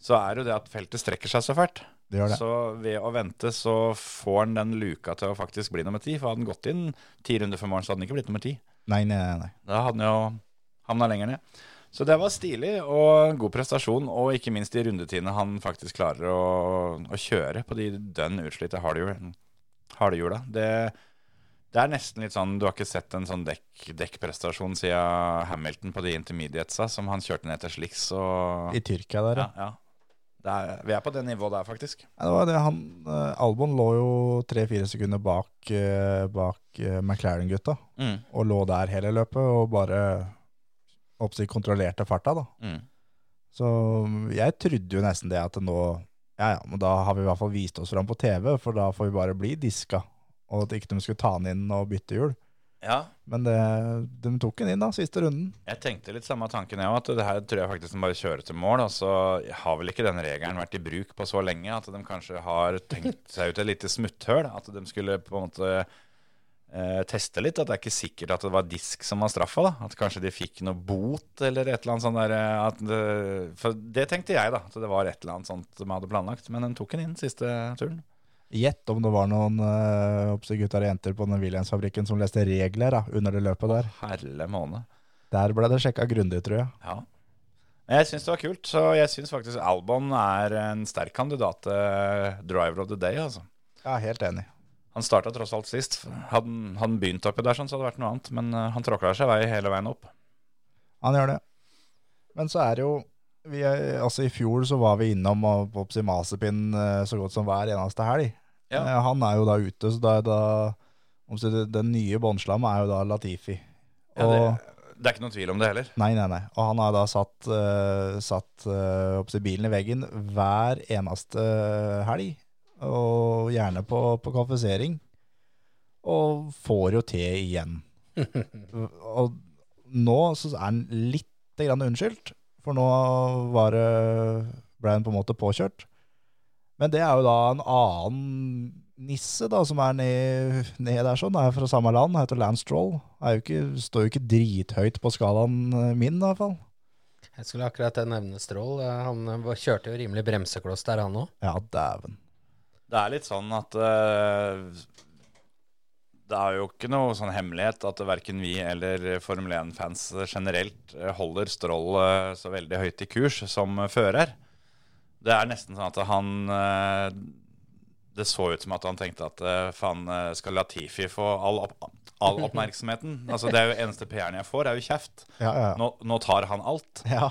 S3: så er jo det at feltet strekker seg så fælt.
S4: Det gjør det.
S3: Så ved å vente så får han den luka til å faktisk bli nummer ti. For hadde han gått inn ti runder for morgen, så hadde han ikke blitt nummer ti.
S4: Nei, nei, nei, nei.
S3: Da hadde han jo havna lenger ned. Så det var stilig og god prestasjon, og ikke minst de rundetidene han faktisk klarer å, å kjøre på de dønn utslitte hardhjul- hardhjula. Det, det er nesten litt sånn Du har ikke sett en sånn dekk, dekkprestasjon siden Hamilton på de intermediatesa som han kjørte ned til slicks og
S4: I Tyrkia der, ja.
S3: ja, ja. Det er, Vi er på det nivået der, faktisk.
S4: Ja, Det var det han, eh, Albon lå jo tre-fire sekunder bak, eh, bak eh, McLaren-gutta,
S3: Mm,
S4: og lå der hele løpet og bare oppsikt kontrollerte farta, da.
S3: mm.
S4: Så jeg trodde jo nesten det at nå Ja, ja, men da har vi i hvert fall vist oss fram på TV, for da får vi bare bli diska. Og at ikke de skulle ta den inn og bytte hjul.
S3: Ja,
S4: Men det, de tok den inn da, siste runden.
S3: Jeg tenkte litt samme tanken, jeg òg. At det her tror jeg faktisk de bare kjører til mål. Og så har vel ikke den regelen vært i bruk på så lenge at de kanskje har tenkt seg ut et lite smutthull. At de skulle på en måte eh, teste litt. At det er ikke sikkert at det var disk som var straffa. da. At kanskje de fikk noe bot eller et eller annet sånt der. eh, At det, for det tenkte jeg, da. At det var et eller annet sånt de hadde planlagt. Men de tok den inn siste turen.
S4: Gjett om det var noen eh, oppsi gutter og jenter på den Williams-fabrikken som leste regler da, under det løpet der.
S3: Herre måned.
S4: Der ble det sjekka grundig, tror jeg.
S3: Ja. Men jeg syns det var kult, så jeg syns faktisk Albon er en sterk kandidat til driver of the day, altså.
S4: Ja, helt enig.
S3: Han starta tross alt sist. Hadde han- hadde han begynt oppi der, sånn, så hadde det vært noe annet. Men eh, han tråkla seg vei hele veien opp.
S4: Han gjør det. Men så er det jo vi er, altså I fjor så var vi innom og på oppsi Masepin eh, så godt som hver eneste helg.
S3: Ja.
S4: Eh, Han er jo da ute, så da er da oppsi, det- Den nye båndslammet er jo da Latifi.
S3: Ja,
S4: Og,
S3: det, det er ikke noen tvil om det heller.
S4: Nei, nei, nei. Og han har da satt, eh, satt eh, oppsi bilen i veggen hver eneste eh, helg. Og gjerne på, på kvalifisering. Og får jo til igjen. og nå så er han litt grann unnskyldt, for nå var det, ble han på en måte påkjørt. Men det er jo da en annen nisse da, som er ned, ned der sånn, er fra samme land, heter Lance Stroll. Er jo ikke, står jo ikke drithøyt på skalaen eh, min i hvert fall.
S5: Jeg skulle akkurat nevne Strål. Eh, Han eh, var- kjørte jo rimelig bremsekloss der, han òg.
S4: Ja, dæven.
S3: Det er litt sånn at eh, Det er jo ikke noe sånn hemmelighet at verken vi eller Formel 1-fans generelt eh, holder Stroll eh, så veldig høyt i kurs som eh, fører. Det er nesten sånn at han eh, Det så ut som at han tenkte at eh, faen, eh, skal Latifi få all, opp, all oppmerksomheten? Altså, det er jo eneste PR-en jeg får, er jo kjeft.
S4: Ja, ja, ja.
S3: Nå, nå tar han alt.
S4: Ja,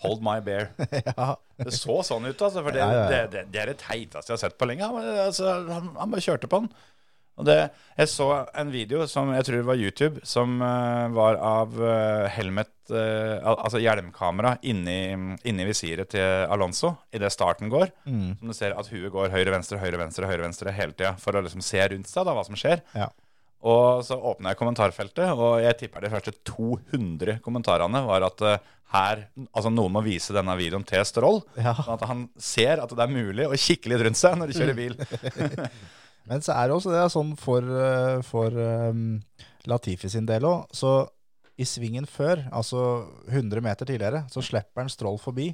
S3: Hold my bear.
S4: ja.
S3: Det så sånn ut, altså. For det,
S4: Ja, ja, ja.
S3: Det, det, det er det teiteste jeg har sett på lenge. Han, altså, han, han bare kjørte på den. Og det, jeg så en video som jeg tror var YouTube, som eh, var av eh, helmet eh, al- Altså hjelmkamera inni, inni visiret til Alonso idet starten går.
S4: Mm.
S3: Som du ser at huet går høyre-venstre, høyre-venstre, høyre-venstre hele tida. For å liksom se rundt seg da, hva som skjer.
S4: ja.
S3: Og så åpna jeg kommentarfeltet, og jeg tipper de første 200 kommentarene var at eh, her, altså noen må vise denne videoen til Strål,
S4: Ja.
S3: sånn at han ser at det er mulig å kikke litt rundt seg når de
S4: Mm.
S3: kjører bil.
S4: Men så er det også det er sånn for, eh, for ehm, Latifi sin del òg. Så i svingen før, altså 100 meter tidligere, så slipper han Stroll forbi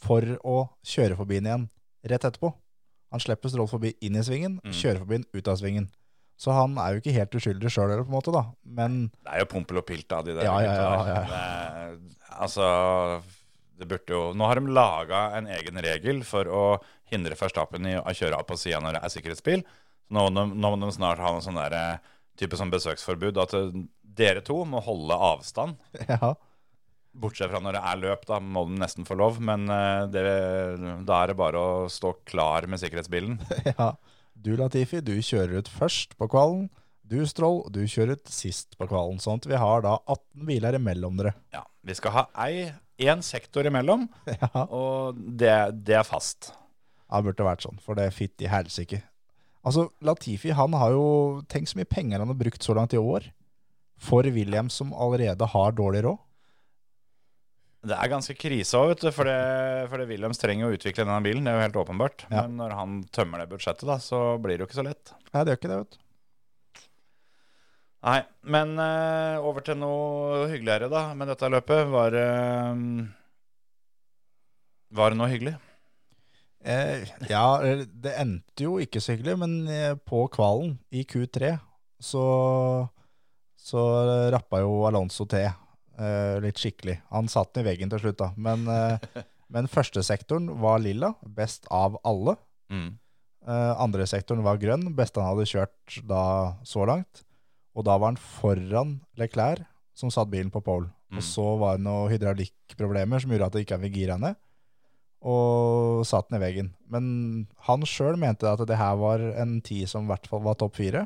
S4: for å kjøre forbi den igjen rett etterpå. Han slipper Stroll forbi inn i svingen, kjører forbi den ut av svingen. Så han er jo ikke helt uskyldig sjøl heller, på en måte, da. Men
S3: Det er jo pompel og pilt av de der.
S4: Ja, ja, ja,
S3: gutta der. Det er- altså, det burde jo Nå har de laga en egen regel for å hindre Verstappen i å kjøre av på sida når det er sikkerhetsbil. Nå, må de- nå må de snart ha en sånn der, eh, type sånn besøksforbud at eh, dere to må holde avstand.
S4: ja.
S3: Bortsett fra når det er løp, da må du nesten få lov. Men eh, det, da er det bare å stå klar med
S4: [laughs]
S3: sikkerhetsbilen.
S4: ja. Du Latifi, du kjører ut først på kvalen. Du Stroll, du kjører ut sist på kvalen. Sånn at vi har da 18 biler imellom dere.
S3: Ja, Vi skal ha ei, én sektor imellom,
S4: Ja.
S3: og det, det er fast.
S4: Ja, det burde vært sånn, for det er fitt i helsike. Altså, Latifi han har jo tenkt så mye penger han har brukt så langt i år for Williams, som allerede har dårlig råd.
S3: Det er ganske krise òg, vet du. For det, for det Williams trenger jo å utvikle denne bilen, det er jo helt åpenbart.
S4: Ja.
S3: Men når han tømmer det budsjettet, da, så blir det jo ikke så lett.
S4: Nei, det gjør ikke det, vet du.
S3: Nei, men eh, over til noe hyggeligere, da, med dette løpet. Var det Var det noe hyggelig?
S4: Eh, ja, eller, det endte jo ikke så hyggelig, men eh, på kvalen i Q3 så, så rappa jo Alonso til eh, litt skikkelig. Han satt den i veggen til slutt, da. Men, eh, [laughs] men førstesektoren var lilla, best av alle.
S3: Mm.
S4: Eh, andre sektoren var grønn, beste han hadde kjørt da så langt. Og da var han foran Leclerc, som satt bilen på pole.
S3: Mm.
S4: Og så var det noen hydraulikkproblemer som gjorde at det ikke fikk gira ned, og satt den i veggen. Men han sjøl mente at det her var en tid som i hvert fall var topp fire.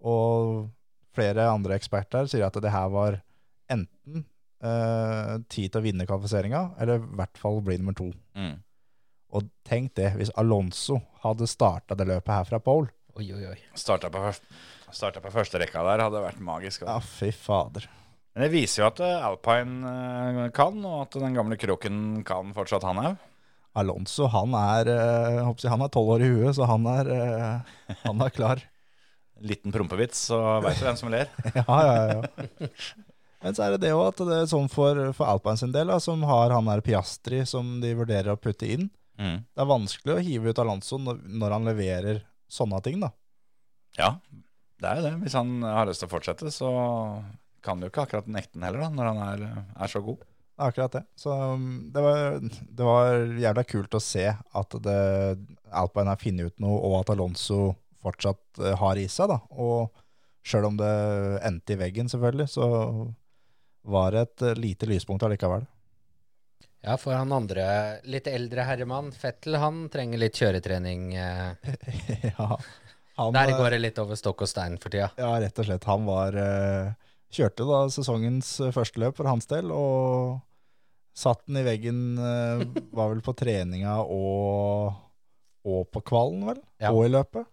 S4: Og flere andre eksperter sier at det her var enten eh, tid til å vinne kvalifiseringa, eller i hvert fall bli nummer to.
S3: Mm.
S4: Og tenk det, hvis Alonso hadde starta det løpet her fra pole.
S5: Oi, oi, oi.
S3: Starta på, først- starta på første rekka der, hadde vært magisk. altså.
S4: Ja, fy fader.
S3: Men det viser jo at eh, Alpine eh, kan, og at den gamle kroken kan fortsatt, han òg.
S4: Alonso, han er eh, håper jeg, han er tolv år i huet, så han er, eh, han er [laughs] klar.
S3: Liten prompevits, så veit du hvem som ler.
S4: Ja, ja, ja. Men så er det det òg, at det er sånn for, for Alpine sin del, da, som har han her Piastri som de vurderer å putte inn.
S3: [laughs] Mm.
S4: Det er vanskelig å hive ut Alonso når, når han leverer sånne ting, da.
S3: Ja, det er jo det. Hvis han har lyst til å fortsette, så kan du ikke akkurat nekte den heller, da, når han er, er så god.
S4: Det er akkurat det. Så um, det var, det var jævla kult å se at det, Alpine har funnet ut noe, og at Alonso fortsatt eh, har i seg. da. Og sjøl om det endte i veggen, selvfølgelig, så var det et eh, lite lyspunkt allikevel. [laughs]
S5: Ja, for han andre litt eldre herremann, Fettel, han trenger litt kjøretrening. eh.
S4: ja, han,
S5: Der
S4: eh,
S5: går det litt over stokk og stein for tida.
S4: Ja, rett og slett. Han var eh, Kjørte da sesongens eh, første løp for hans del, og satt den i veggen eh, Var vel på treninga og, og på kvalen, vel?
S5: Ja.
S4: Og i løpet.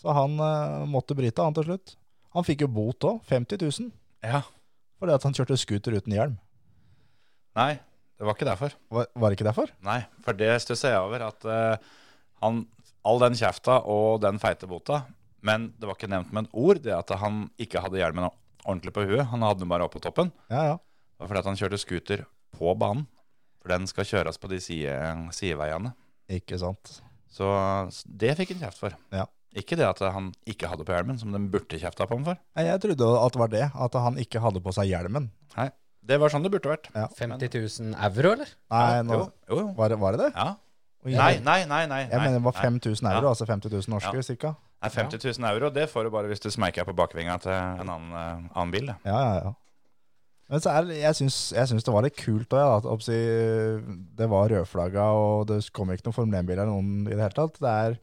S4: Så han eh, måtte bryte, han til slutt. Han fikk jo bot òg, 50 000,
S3: Ja.
S4: fordi at han kjørte scooter uten hjelm.
S3: Nei, det var ikke derfor.
S4: Var, var det ikke derfor?
S3: Nei, for det stusser jeg over. At eh, han All den kjefta og den feite bota, men det var ikke nevnt med et ord, det at han ikke hadde hjelmen ordentlig på huet. Han hadde den bare oppå toppen.
S4: Ja, ja.
S3: Det var fordi at han kjørte scooter på banen. For den skal kjøres på de side, sideveiene.
S4: Ikke sant.
S3: Så s- det fikk han kjeft for.
S4: Ja.
S3: Ikke det at han ikke hadde på hjelmen, som de burde kjefta på ham for.
S4: Nei, Jeg trodde at det var det, at han ikke hadde på seg hjelmen.
S3: Nei, det var sånn det burde vært.
S5: 50 000 euro, eller?
S4: Nei, nå,
S3: Jo, jo. jo.
S4: var, det, var det det?
S3: Ja.
S4: Oi,
S3: Nei,
S4: Jeg,
S3: nei, nei. nei
S4: jeg mener det var
S3: nei.
S4: 5000 euro,
S3: Ja.
S4: altså 50 000 norske,
S3: Ja.
S4: cirka.
S3: Nei, 50 000 euro, det får du bare hvis du smeiker på bakvinga til en annen, eh, annen bil. det.
S4: Ja, ja, ja. Men så er, det- jeg syns, jeg syns det var litt kult òg, ja, at oppsi, det var rødflagga, og det kom ikke noen Formel 1-bil eller noen i det hele tatt. Det er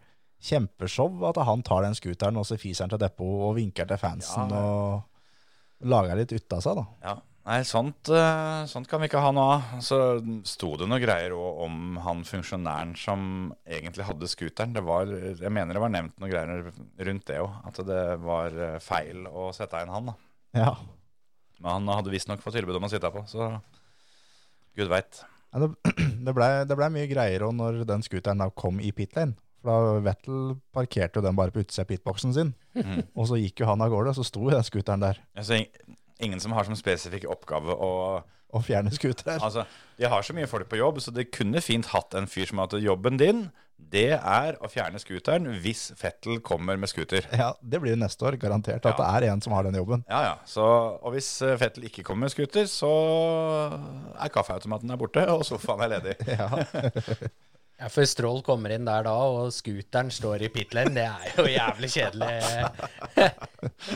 S4: kjempeshow at han tar den scooteren, og så fiser han til depot og vinker til fansen
S3: Ja.
S4: og lager litt ut av seg, da.
S3: Ja. Nei, sånt, eh, sånt kan vi ikke ha noe av. Så sto det noe greier òg om han funksjonæren som egentlig hadde scooteren. Det var, jeg mener det var nevnt noe greier rundt det òg, at det var eh, feil å sette inn han. da.
S4: Ja.
S3: Men han hadde visstnok fått tilbud om å sitte på, så gud veit.
S4: Ja, Det, [clears throat] det blei det ble mye greier òg når den scooteren da kom i pit lane. For da Vettel parkerte jo den bare på utsida av pitboxen sin.
S3: Mhm.
S4: Og så gikk jo han av gårde, og så sto jo den scooteren der.
S3: Altså, ing- ingen som har som spesifikk oppgave å
S4: Og fjerne scooter.
S3: Altså, De har så mye folk på jobb, så det kunne fint hatt en fyr som hadde jobben din. Det er å fjerne scooteren hvis Fettel kommer med scooter.
S4: Ja, det blir det neste år, garantert. At det er en som har den jobben.
S3: Ja, ja. Så, og hvis eh, Fettel ikke kommer med scooter, så er kaffeautomaten der borte, [laughs] og sofaen er ledig.
S4: [laughs] Ja.
S5: Ja, for Strål kommer inn der da, og scooteren står i pit lane. Det er jo jævlig kjedelig.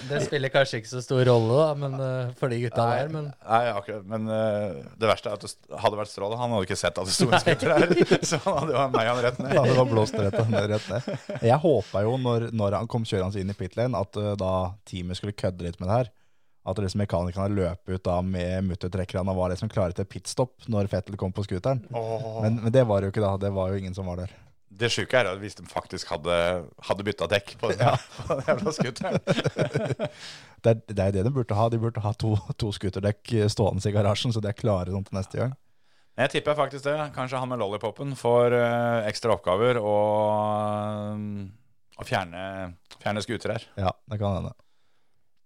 S5: Det spiller kanskje ikke så stor rolle da, men eh, for de gutta der, men
S3: Nei, akkurat, Men eh, det verste er at det st- hadde vært Stråle. Han hadde jo ikke sett at det sto en scooter her. [laughs] Så han hadde jo meg han rett ned.
S4: Ja, det var blåst rett, rett ned. Jeg håpa jo, når, når han kom kjørende inn i pit lane, at eh, da teamet skulle kødde litt med det her. At liksom mekanikerne løp ut da med muttertrekkerne og var liksom klare til pitstop når Fettel kom på scooteren. Men, men det var det jo ikke da. Det var jo ingen som var der.
S3: Det sjuke er at hvis de faktisk hadde, hadde bytta dekk på den, [laughs] på den jævla scooteren
S4: Det er det, er det de burde ha. De burde ha to, to scooterdekk stående i garasjen, så de er klare sånn til neste gang.
S3: Jeg tipper faktisk det. Kanskje han med lollipopen får eh, ekstra oppgaver og, og fjerne, fjerne skuter her.
S4: Ja, det kan hende.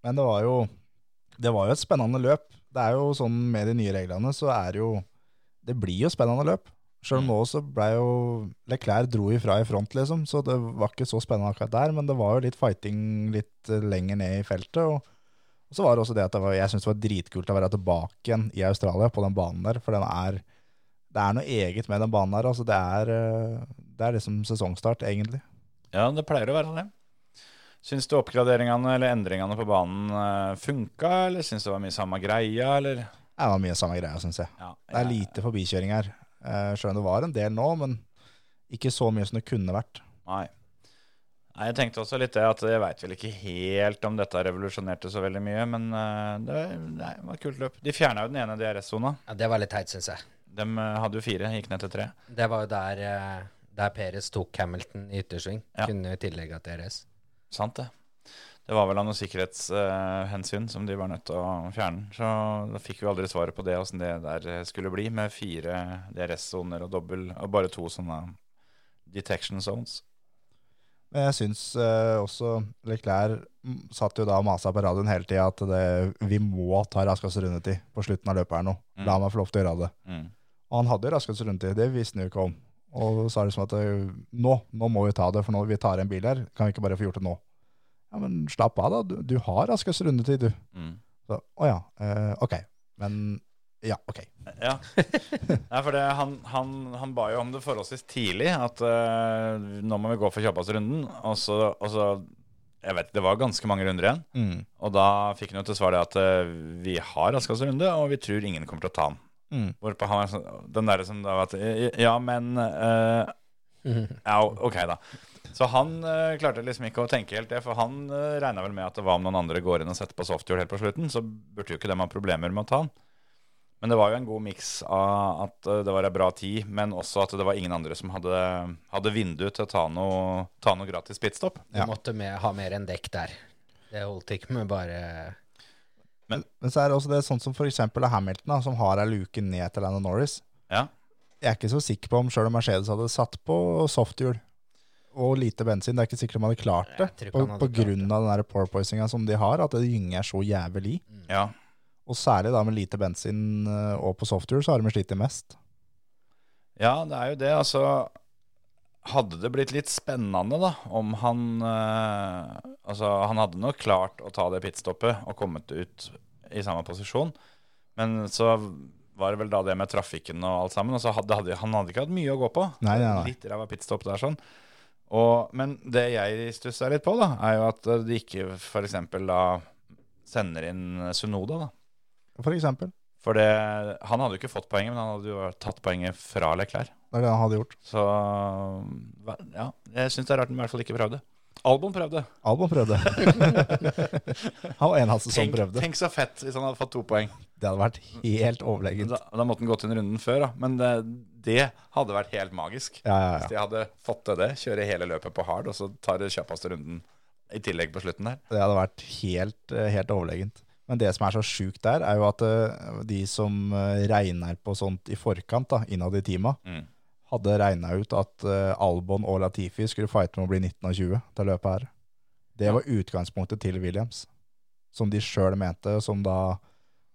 S4: Men det var jo Det var jo et spennende løp. Det er jo sånn med de nye reglene, så er det jo Det blir jo spennende løp. Sjøl om nå så blei jo Leclerc dro ifra i front, liksom, så det var ikke så spennende akkurat der. Men det var jo litt fighting litt eh, lenger ned i feltet. Og, og så var det også det at det var, jeg syns det var dritkult å være tilbake igjen i Australia på den banen der, for den er Det er noe eget med den banen der. Altså det er, eh, det er liksom sesongstart, egentlig.
S3: Ja, det pleier å være det. Syns du oppgraderingene eller endringene på banen eh, funka, eller syns du det var mye samme greia, eller?
S4: Det var mye samme greia, syns jeg.
S3: Ja,
S4: Det er
S3: jeg-
S4: lite forbikjøring her. Eh, Selv om det var en del nå, men ikke så mye som det kunne vært.
S3: Nei. Nei, jeg tenkte også litt det at jeg veit vel ikke helt om dette revolusjonerte så veldig mye, men eh, det, var- nei, det var et kult løp. De fjerna jo den ene DRS-sona.
S5: ja, det var litt teit, syns jeg.
S3: De eh, hadde jo fire, gikk ned til tre.
S5: Det var jo der, eh, der Peres tok Hamilton i yttersving.
S3: Ja.
S5: Kunne jo tillegge til RS.
S3: Sant det. Det var vel av noen sikkerhetshensyn som de var nødt til å fjerne. Så da fikk vi aldri svaret på det, åssen det der skulle bli, med fire DRS-soner og dobbel, og bare to sånne detection zones.
S4: Men jeg syns eh, også Leclerc mm, satt jo da og masa på radioen hele tida at det, vi må ta raskest rundetid på slutten av løpet her nå.
S3: Mm.
S4: La meg få lov til å gjøre det.
S3: Mm.
S4: Og han hadde jo raskest rundetid, det visste han jo ikke om. Og så er det som at eh, nå, nå må vi ta det, for nå vi tar en bil her, kan vi ikke bare få gjort det nå? Ja, men slapp av da, du, du har raskest rundetid, du.
S3: Mm.
S4: Så, å ja, eh, ok. Men ja, ok.
S3: Ja. Nei, for det, han, han, han ba jo om det forholdsvis tidlig, at eh, nå må vi gå for kjappeste runden. Og så, og så Jeg vet det var ganske mange runder igjen.
S4: Mm.
S3: Og da fikk han jo til svar det at eh, vi har raskest runde, og vi tror ingen kommer til å ta den.
S4: Mm.
S3: Hvorpå han er sånn Den derre som da var at Ja, men eh, Ja, ok, da. Så han eh, klarte liksom ikke å tenke helt det, for han uh, regna vel med at det var om noen andre går inn og setter på softhjul helt på slutten, så burde jo ikke dem ha problemer med å ta han. Men det var jo en god miks av at eh, det var ei bra tid, men også at det var ingen andre som hadde, hadde vindu til å ta noe, ta noe gratis pitstop.
S5: Du
S4: Ja.
S5: måtte med, ha mer enn dekk der. Det holdt ikke med bare
S4: Men så er det også det sånn som for eksempel Hamilton, da, som har ei luke ned til Lando Norris.
S3: Ja.
S4: Jeg er ikke så sikker på om sjøl om Mercedes hadde satt på softhjul og lite bensin, det er ikke sikkert om de hadde klart det.
S5: Jeg tror ikke
S4: På,
S5: han hadde
S4: på
S5: klart
S4: grunn av den der porpoisinga som de har, at det gynger så jævlig.
S5: Mm.
S3: Ja.
S4: Og særlig da med lite bensin eh, og på softhjul, så har de slitt mest.
S3: Ja, det er jo det. Altså, hadde det blitt litt spennende, da, om han eh, Altså, han hadde nok klart å ta det pitstoppet og kommet ut i samme posisjon, men så var det vel da det med trafikken og alt sammen. Og så hadde, hadde han hadde ikke hatt mye å gå på.
S4: Nei, nei, nei.
S3: Litt ræva pitstopp der, sånn. Og, men det jeg stussa litt på, da, er jo at de ikke f.eks. da sender inn Sunoda, da.
S4: For eksempel.
S3: For det, han hadde jo ikke fått poenget, men han hadde jo tatt poenget fra Leclerc.
S4: Det er det han hadde gjort.
S3: Så um, hva- ja, jeg syns det er rart han i hvert fall ikke prøvde. Albon prøvde.
S4: Albon
S5: [laughs]
S4: prøvde. han var eneste som
S3: Tenk,
S4: prøvde.
S3: tenk så fett hvis han hadde fått to poeng.
S4: Det hadde vært helt overlegent.
S3: Da, da måtte han gått inn runden før, da. Men det, det hadde vært helt magisk.
S4: Ja, ja,
S3: Hvis
S4: ja.
S3: de hadde fått til det, kjøre hele løpet på hard, og så tar det kjappeste runden i tillegg på slutten der.
S4: Det hadde vært helt, eh, helt overlegent. Men det som er så sjukt der, er jo at eh, de som eh, regner på sånt i forkant, da, innad i teama,
S3: Mm.
S4: hadde regna ut at eh, Albon og Latifi skulle fighte med å bli 19 og 20 til løpet her. Det var utgangspunktet til Williams, som de sjøl mente, som da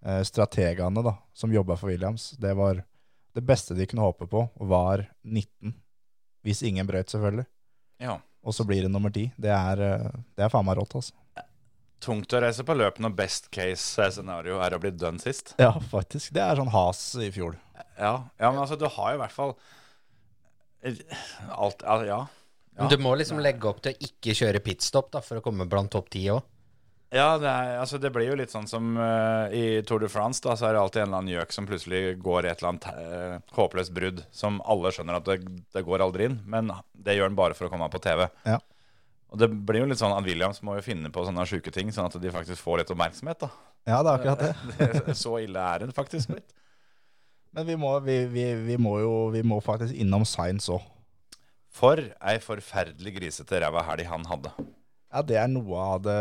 S4: eh, strategene da, som jobba for Williams, det var det beste de kunne håpe på, var 19. Hvis ingen brøyt, selvfølgelig.
S3: Ja.
S4: Og så blir det nummer 10. Det er, eh, det er faen meg rått, altså.
S3: Tungt å reise på løpet når best case scenario er å bli dønn sist.
S4: Ja, [laughs] faktisk. Det er sånn has i fjor.
S3: Ja, ja men altså, du har i hvert fall eh, Alt Ja. ja.
S5: Men Du må liksom legge opp til å ikke kjøre pitstop da, for å komme blant topp ti òg.
S3: Ja, det, er, altså det blir jo litt sånn som eh, i Tour de France. da, Så er det alltid en eller annen gjøk som plutselig går i et eller annet eh, håpløst brudd, som alle skjønner at det, det går aldri inn, men det gjør han bare for å komme på TV.
S4: Ja.
S3: Og det blir jo litt sånn at Williams må jo finne på sånne sjuke ting, sånn at de faktisk får litt oppmerksomhet. da.
S4: Ja, det er akkurat det.
S3: Det- Så ille er det faktisk blitt.
S4: Men vi må, vi, vi, vi må jo vi må faktisk innom Science òg.
S3: For ei forferdelig grisete ræva helg han hadde.
S4: Ja, det er noe av det,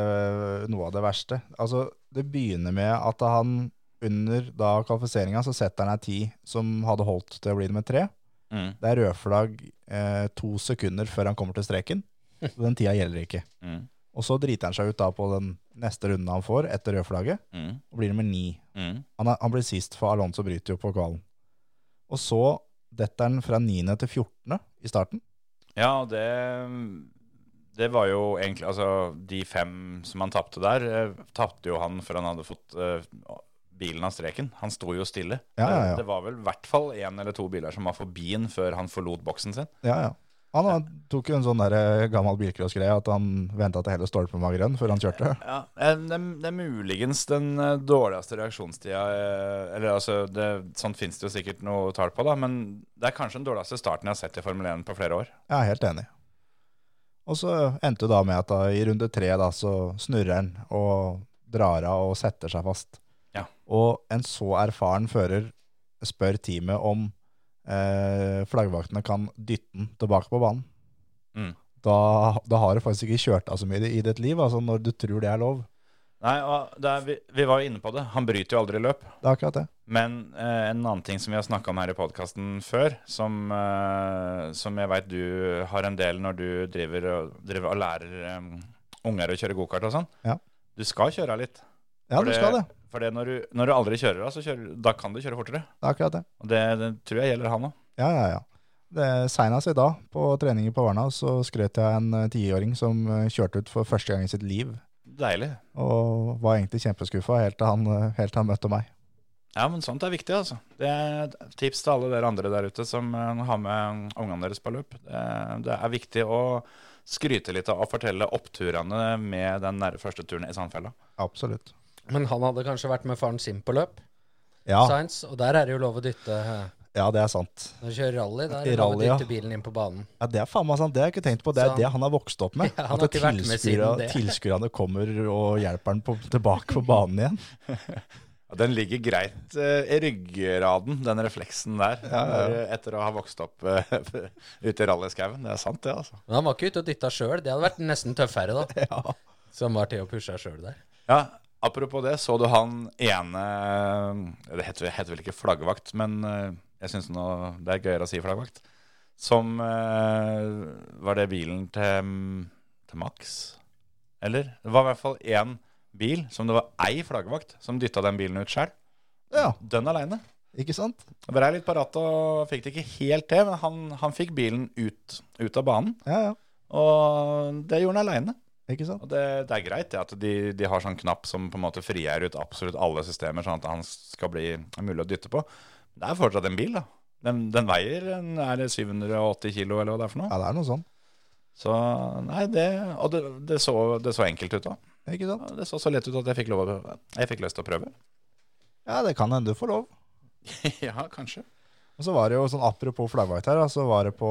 S4: noe av det verste. Altså, det begynner med at han under da kvalifiseringa så setter han ei ti som hadde holdt til å bli nummer tre.
S3: Mm,
S4: Det er rødflagg eh, to sekunder før han kommer til
S3: [laughs]
S4: streken. Så den tida gjelder ikke.
S3: mm,
S4: Og så driter han seg ut da på den neste runden han får etter rødflagget,
S3: mm,
S4: og blir nummer ni.
S3: mm.
S4: Han, er, han blir sist, for Alonso bryter jo på kvalen. Og så detter han fra 9. til 14. i starten.
S3: Ja, og det Det var jo egentlig Altså, de fem som han tapte der, eh, tapte jo han før han hadde fått eh, bilen av streken. Han sto jo stille.
S4: Ja, ja, ja.
S3: Det var vel i hvert fall én eller to biler som var forbi han før han forlot boksen sin.
S4: Ja, ja. Han, han tok jo en sånn der eh, gammel bilcrossgreie at han venta til hele stolpen var grønn før han kjørte.
S3: Ja, eh, Det, det er muligens den eh, dårligste reaksjonstida eh, Eller altså, det, sånt fins det jo sikkert noe tall på, da, men det er kanskje den dårligste starten jeg har sett i Formel 1 på flere år.
S4: Jeg er helt enig. Og så endte det da med at da, i runde tre da, så snurrer han og drar av og setter seg fast.
S3: Ja.
S4: Og en så erfaren fører spør teamet om eh, flaggvaktene kan dytte den tilbake på banen.
S3: Mm.
S4: Da, da har du faktisk ikke kjørt av så mye i ditt liv, altså når du tror det er lov.
S3: Nei, og det er, vi, vi var jo inne på det. Han bryter jo aldri løp.
S4: Det er akkurat det.
S3: Men eh, en annen ting som vi har snakka om her i podkasten før, som, eh, som jeg veit du har en del når du driver og, driver og lærer eh, unger å kjøre gokart og sånn.
S4: Ja.
S3: Du skal kjøre av litt.
S4: Ja,
S3: For
S4: du skal det.
S3: For det når, du, når du aldri kjører av, så kjører, da kan du kjøre fortere.
S4: Det er akkurat det.
S3: Og det, det tror jeg gjelder han òg.
S4: Ja, ja, ja. Det- Senest i dag, på treninger på Varna, så skrøt jeg en eh, tiåring som eh, kjørte ut for første gang i sitt liv.
S3: Deilig.
S4: Og var egentlig kjempeskuffa helt til han, eh, helt til han møtte meg.
S3: Ja, men sånt er viktig, altså. Det er et tips til alle dere andre der ute som eh, har med ungene deres på løp. Det, det er viktig å skryte litt av og fortelle oppturene med den nære første turen i Sandfella.
S4: Absolutt.
S5: Men han hadde kanskje vært med faren sin på løp,
S4: Ja,
S5: Sainz, og der er det jo lov å dytte eh,
S4: ja det er sant.
S5: Når du kjører rally, da er
S4: I
S5: det lov å
S4: rally, ja.
S5: dytte bilen inn på banen.
S4: Ja, Det er faen meg sant. Det har jeg ikke tenkt på. Det
S5: Så
S4: er
S5: han-
S4: det han har vokst opp med.
S5: [laughs] Ja, han har
S4: at
S5: ikke vært med siden
S4: tilskuerne
S5: det.
S4: tilskuerne kommer og hjelper han på, tilbake på banen igjen.
S3: Ja, den ligger greit eh, i ryggraden, den refleksen der, når- etter å ha vokst opp eh, [laughs] ute i rallyskauen. Det er sant, det, altså.
S5: Men han var ikke ute og dytta sjøl, det hadde vært nesten tøffere, da. Så han var til å pushe sjøl der.
S3: Ja, Apropos det, så du han ene eh, Det heter, heter vel ikke flaggvakt, men eh, jeg syns det er gøyere å si flaggvakt. Som eh, Var det bilen til, til Max? Eller? Det var i hvert fall én bil som det var ei flaggvakt som dytta den bilen ut sjøl.
S4: Ja,
S3: Dønn aleine.
S4: ikke sant?
S3: Vrei litt på rattet og fikk det ikke helt til, men han, han fikk bilen ut, ut av banen.
S4: Ja, ja.
S3: Og det gjorde han aleine.
S4: Ikke sant?
S3: Og det, det er greit det at de, de har sånn knapp som på en måte frigjør ut absolutt alle systemer, sånn at han skal bli mulig å dytte på. Det er fortsatt en bil, da. Den, den veier en, er det 780 kilo, eller hva det er for noe.
S4: Ja, det er noe sånn.
S3: Så nei, det Og det, det, så, det så enkelt ut da
S4: Ikke sant?
S3: Det så så lett ut at jeg fikk, lov, å- jeg fikk lyst til å prøve.
S4: Ja, det kan hende du får lov.
S3: [laughs] ja, kanskje.
S4: Og så var det jo sånn apropos flaggvakt her, da, så var det på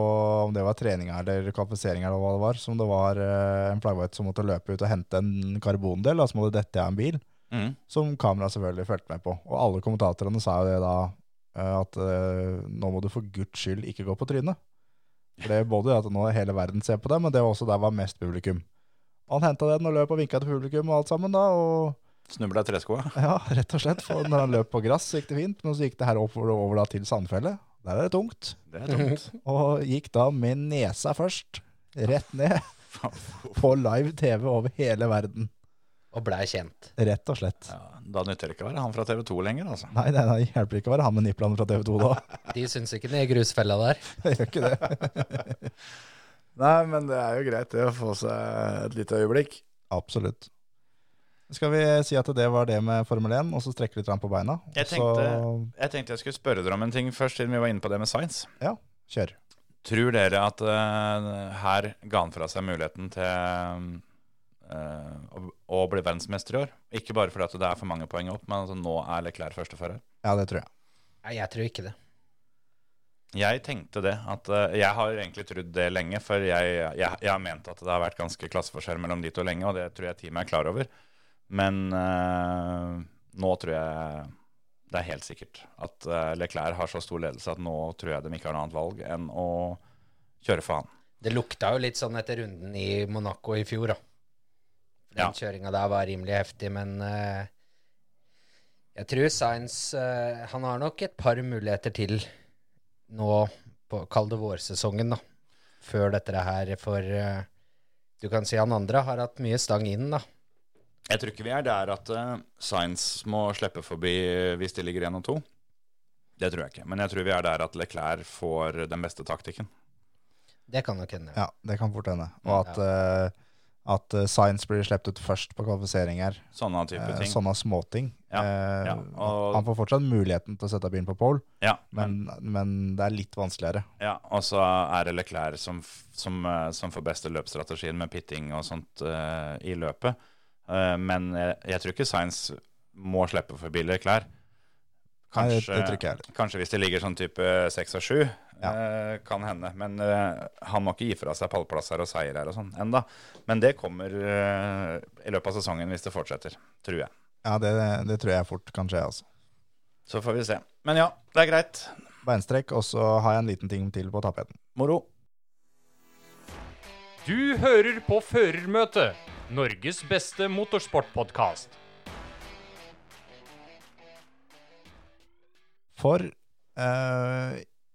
S4: om det var treninga eller kvalifiseringa eller hva det var, som det var eh, en flaggvakt som måtte løpe ut og hente en karbondel, da, som hadde dette av en bil,
S3: Mm.
S4: som kameraet selvfølgelig fulgte med på. Og alle kommentatorene sa jo det da, eh, at eh, nå må du for guds skyld ikke gå på trynet. For det er både det at nå hele verden ser på det, men det var også der var mest publikum. Og han henta den og løp og vinka til publikum og alt sammen, da, og
S3: Snubla i treskoa.
S4: ja, [laughs] rett og slett. For når han løp på gress, så gikk det fint. Men så gikk det her oppover, over da, til Sandfjellet. Der er det tungt.
S3: Det er dumt.
S4: Og gikk da med nesa først, rett ned, [laughs] på live TV over hele verden.
S5: Og blei kjent.
S4: Rett og slett.
S3: Ja, da nytter det ikke å være han fra TV 2 lenger, altså.
S4: Nei, nei, nei, hjelper ikke å være han med nipplene fra TV 2 da.
S5: De syns ikke den i grusfella der.
S4: [laughs] Det Gjør ikke det.
S3: Nei, men det er jo greit det å få seg et lite øyeblikk.
S4: Absolutt. Skal vi si at det var det med Formel 1, og så strekke litt grann på beina? og
S3: Jeg tenkte- Jeg tenkte jeg skulle spørre dere om en ting først, siden vi var inne på det med science.
S4: Så kjør.
S3: Tror dere at eh, her ga han fra seg muligheten til eh, å, å bli verdensmester i år? Ikke bare fordi at det er for mange poeng opp, men altså, nå er Leclerc førstefører.
S4: Ja, det tror jeg.
S5: Nei, jeg tror ikke det.
S3: Jeg tenkte det. At, eh, jeg har egentlig trodd det lenge, for jeg, jeg, jeg har ment at det har vært ganske klasseforskjell mellom de to lenge, og det tror jeg teamet er klar over. Men eh, nå tror jeg det er helt sikkert at eh, Leclerc har så stor ledelse at nå tror jeg de ikke har noe annet valg enn å kjøre for han.
S5: Det lukta jo litt sånn etter runden i Monaco i fjor, da. Den
S3: Ja.
S5: kjøringa der var rimelig heftig, men eh, jeg tror Sainz eh, Han har nok et par muligheter til nå på Kall det vårsesongen, da. Før dette her, for eh, du kan si han andre har hatt mye stang inn, da.
S3: Jeg tror ikke vi er der at uh, Science må slippe forbi hvis de ligger 1 og 2. Det tror jeg ikke. Men jeg tror vi er der at Leclerc får den beste taktikken.
S5: Det kan nok hende.
S4: Ja, det kan fort hende. Og
S3: Mm,
S4: at, eh, at eh, Science blir sluppet ut først på kvalifisering her.
S3: Sånne type
S4: Eh,
S3: ting.
S4: Sånne småting.
S3: Ja,
S4: Eh,
S3: ja, og- Mm.
S4: Han får fortsatt muligheten til å sette bilen på pole,
S3: Ja, men,
S4: men, men det er litt vanskeligere.
S3: ja, og så er det Leclerc som, f- som, eh, som får beste løpsstrategien med pitting og sånt eh, i løpet. Eh, men jeg, jeg tror ikke Science må slippe forbi Leclerc.
S4: Nei, det-
S3: Kanskje,
S4: det tror ikke jeg heller.
S3: kanskje hvis det ligger sånn type 6 og 7, eh, kan hende. Men eh, han må ikke gi fra seg pallplasser og seier her og sånn enda. Men det kommer eh, i løpet av sesongen hvis det fortsetter, tror jeg.
S4: Ja, det, det tror jeg fort kan skje, altså.
S3: Så får vi se. Men ja, det er greit.
S4: Beinstrekk, og så har jeg en liten ting til på tapeten.
S3: Moro.
S6: Du hører på Førermøtet, Norges beste motorsportpodkast.
S4: For eh,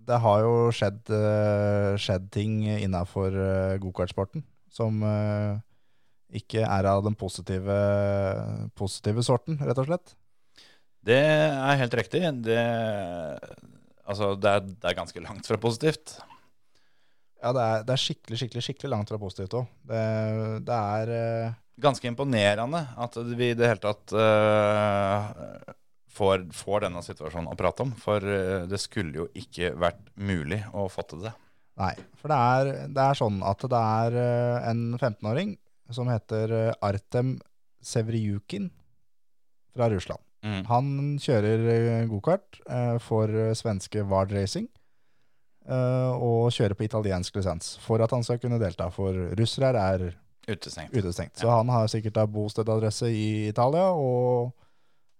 S4: det har jo skjedd, eh, skjedd ting innafor eh, gokartsporten som eh, ikke er av den positive, positive sorten, rett og slett.
S3: Det er helt riktig. Det, altså, det, er, det er ganske langt fra positivt.
S4: Ja, det er, det er skikkelig, skikkelig skikkelig langt fra positivt òg. Det, det er eh,
S3: Ganske imponerende at vi i det hele tatt eh, får, får denne situasjonen å prate om. For eh, det skulle jo ikke vært mulig å fatte det.
S4: Nei, for det er, det er sånn at det er eh, en 15-åring som heter eh, Artem Sevriukin fra Russland.
S3: Mm.
S4: Han kjører eh, gokart eh, for eh, svenske Vard Racing eh, og kjører på italiensk lisens for at han skal kunne delta, for russere er
S3: Utestengt.
S4: utestengt. Så han har sikkert da bostedadresse i Italia og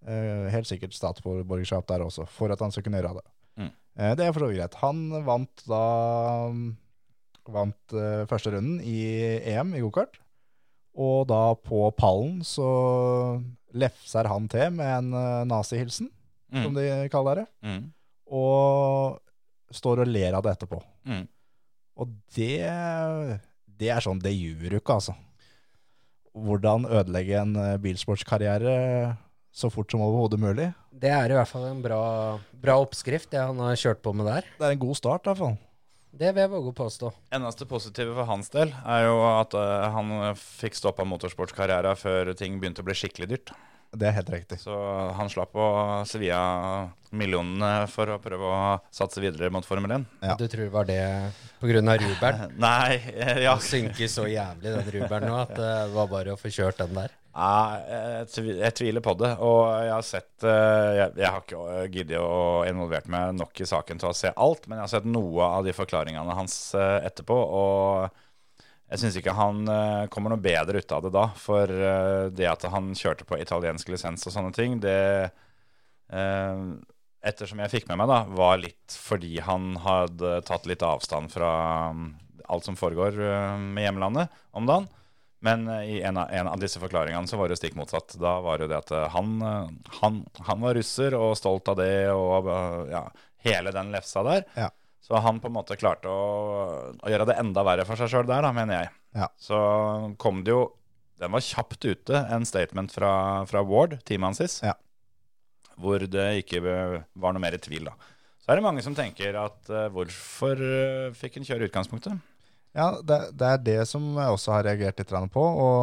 S4: eh, helt sikkert statsborgerskap der også, for at han skal kunne gjøre det.
S3: Mm.
S4: Eh, det er for så vidt greit. Han vant da mm, vant eh, første runden i EM i gokart, og da på pallen så lefser han til med en eh, nazihilsen, som
S3: Mm.
S4: de kaller det,
S3: Mm.
S4: og står og ler av det etterpå.
S3: Mm.
S4: Og det, det er sånn, det gjør du ikke, altså. Hvordan ødelegge en eh, bilsportskarriere eh, så fort som overhodet mulig.
S5: Det er i hvert fall en bra, bra oppskrift, det han har kjørt på med der.
S4: Det er en god start, i hvert fall.
S5: Det vil jeg våge å påstå.
S3: Eneste positive for hans del er jo at eh, han fikk stoppa motorsportskarriera før ting begynte å bli skikkelig dyrt.
S4: Det er helt riktig.
S3: Så han slapp å svi av millionene for å prøve å satse videre mot Formel 1.
S4: Ja.
S5: Du tror det var det pga. ruberen?
S3: Nei, eh, ja.
S5: Han synker så jævlig, den ruberen nå, at eh, det var bare å få kjørt den der.
S3: Nei, eh, jeg, tvi- jeg tviler på det. Og jeg har sett eh, Jeg, jeg har ikke eh, giddet å involvert meg nok i saken til å se alt, men jeg har sett noe av de forklaringene hans eh, etterpå. Og jeg syns ikke han eh, kommer noe bedre ut av det da. For eh, det at han kjørte på italiensk lisens og sånne ting, det eh, Ettersom jeg fikk med meg, da, var litt fordi han hadde tatt litt avstand fra mm, alt som foregår eh, med hjemlandet om dagen. Men eh, i en av, en av disse forklaringene så var det stikk motsatt. Da var det jo det at eh, han, eh, han, han var russer og stolt av det og eh, ja, hele den lefsa der.
S4: Ja.
S3: Så han på en måte klarte å, å gjøre det enda verre for seg sjøl der, da, mener jeg.
S4: Ja.
S3: Så kom det jo Den var kjapt ute, en statement fra, fra Ward, teamet hans.
S4: Ja.
S3: Hvor det ikke var noe mer i tvil, da. Så er det mange som tenker at eh, hvorfor eh, fikk han kjøre i utgangspunktet?
S4: Ja, det, det er det som jeg også har reagert litt grann på. Og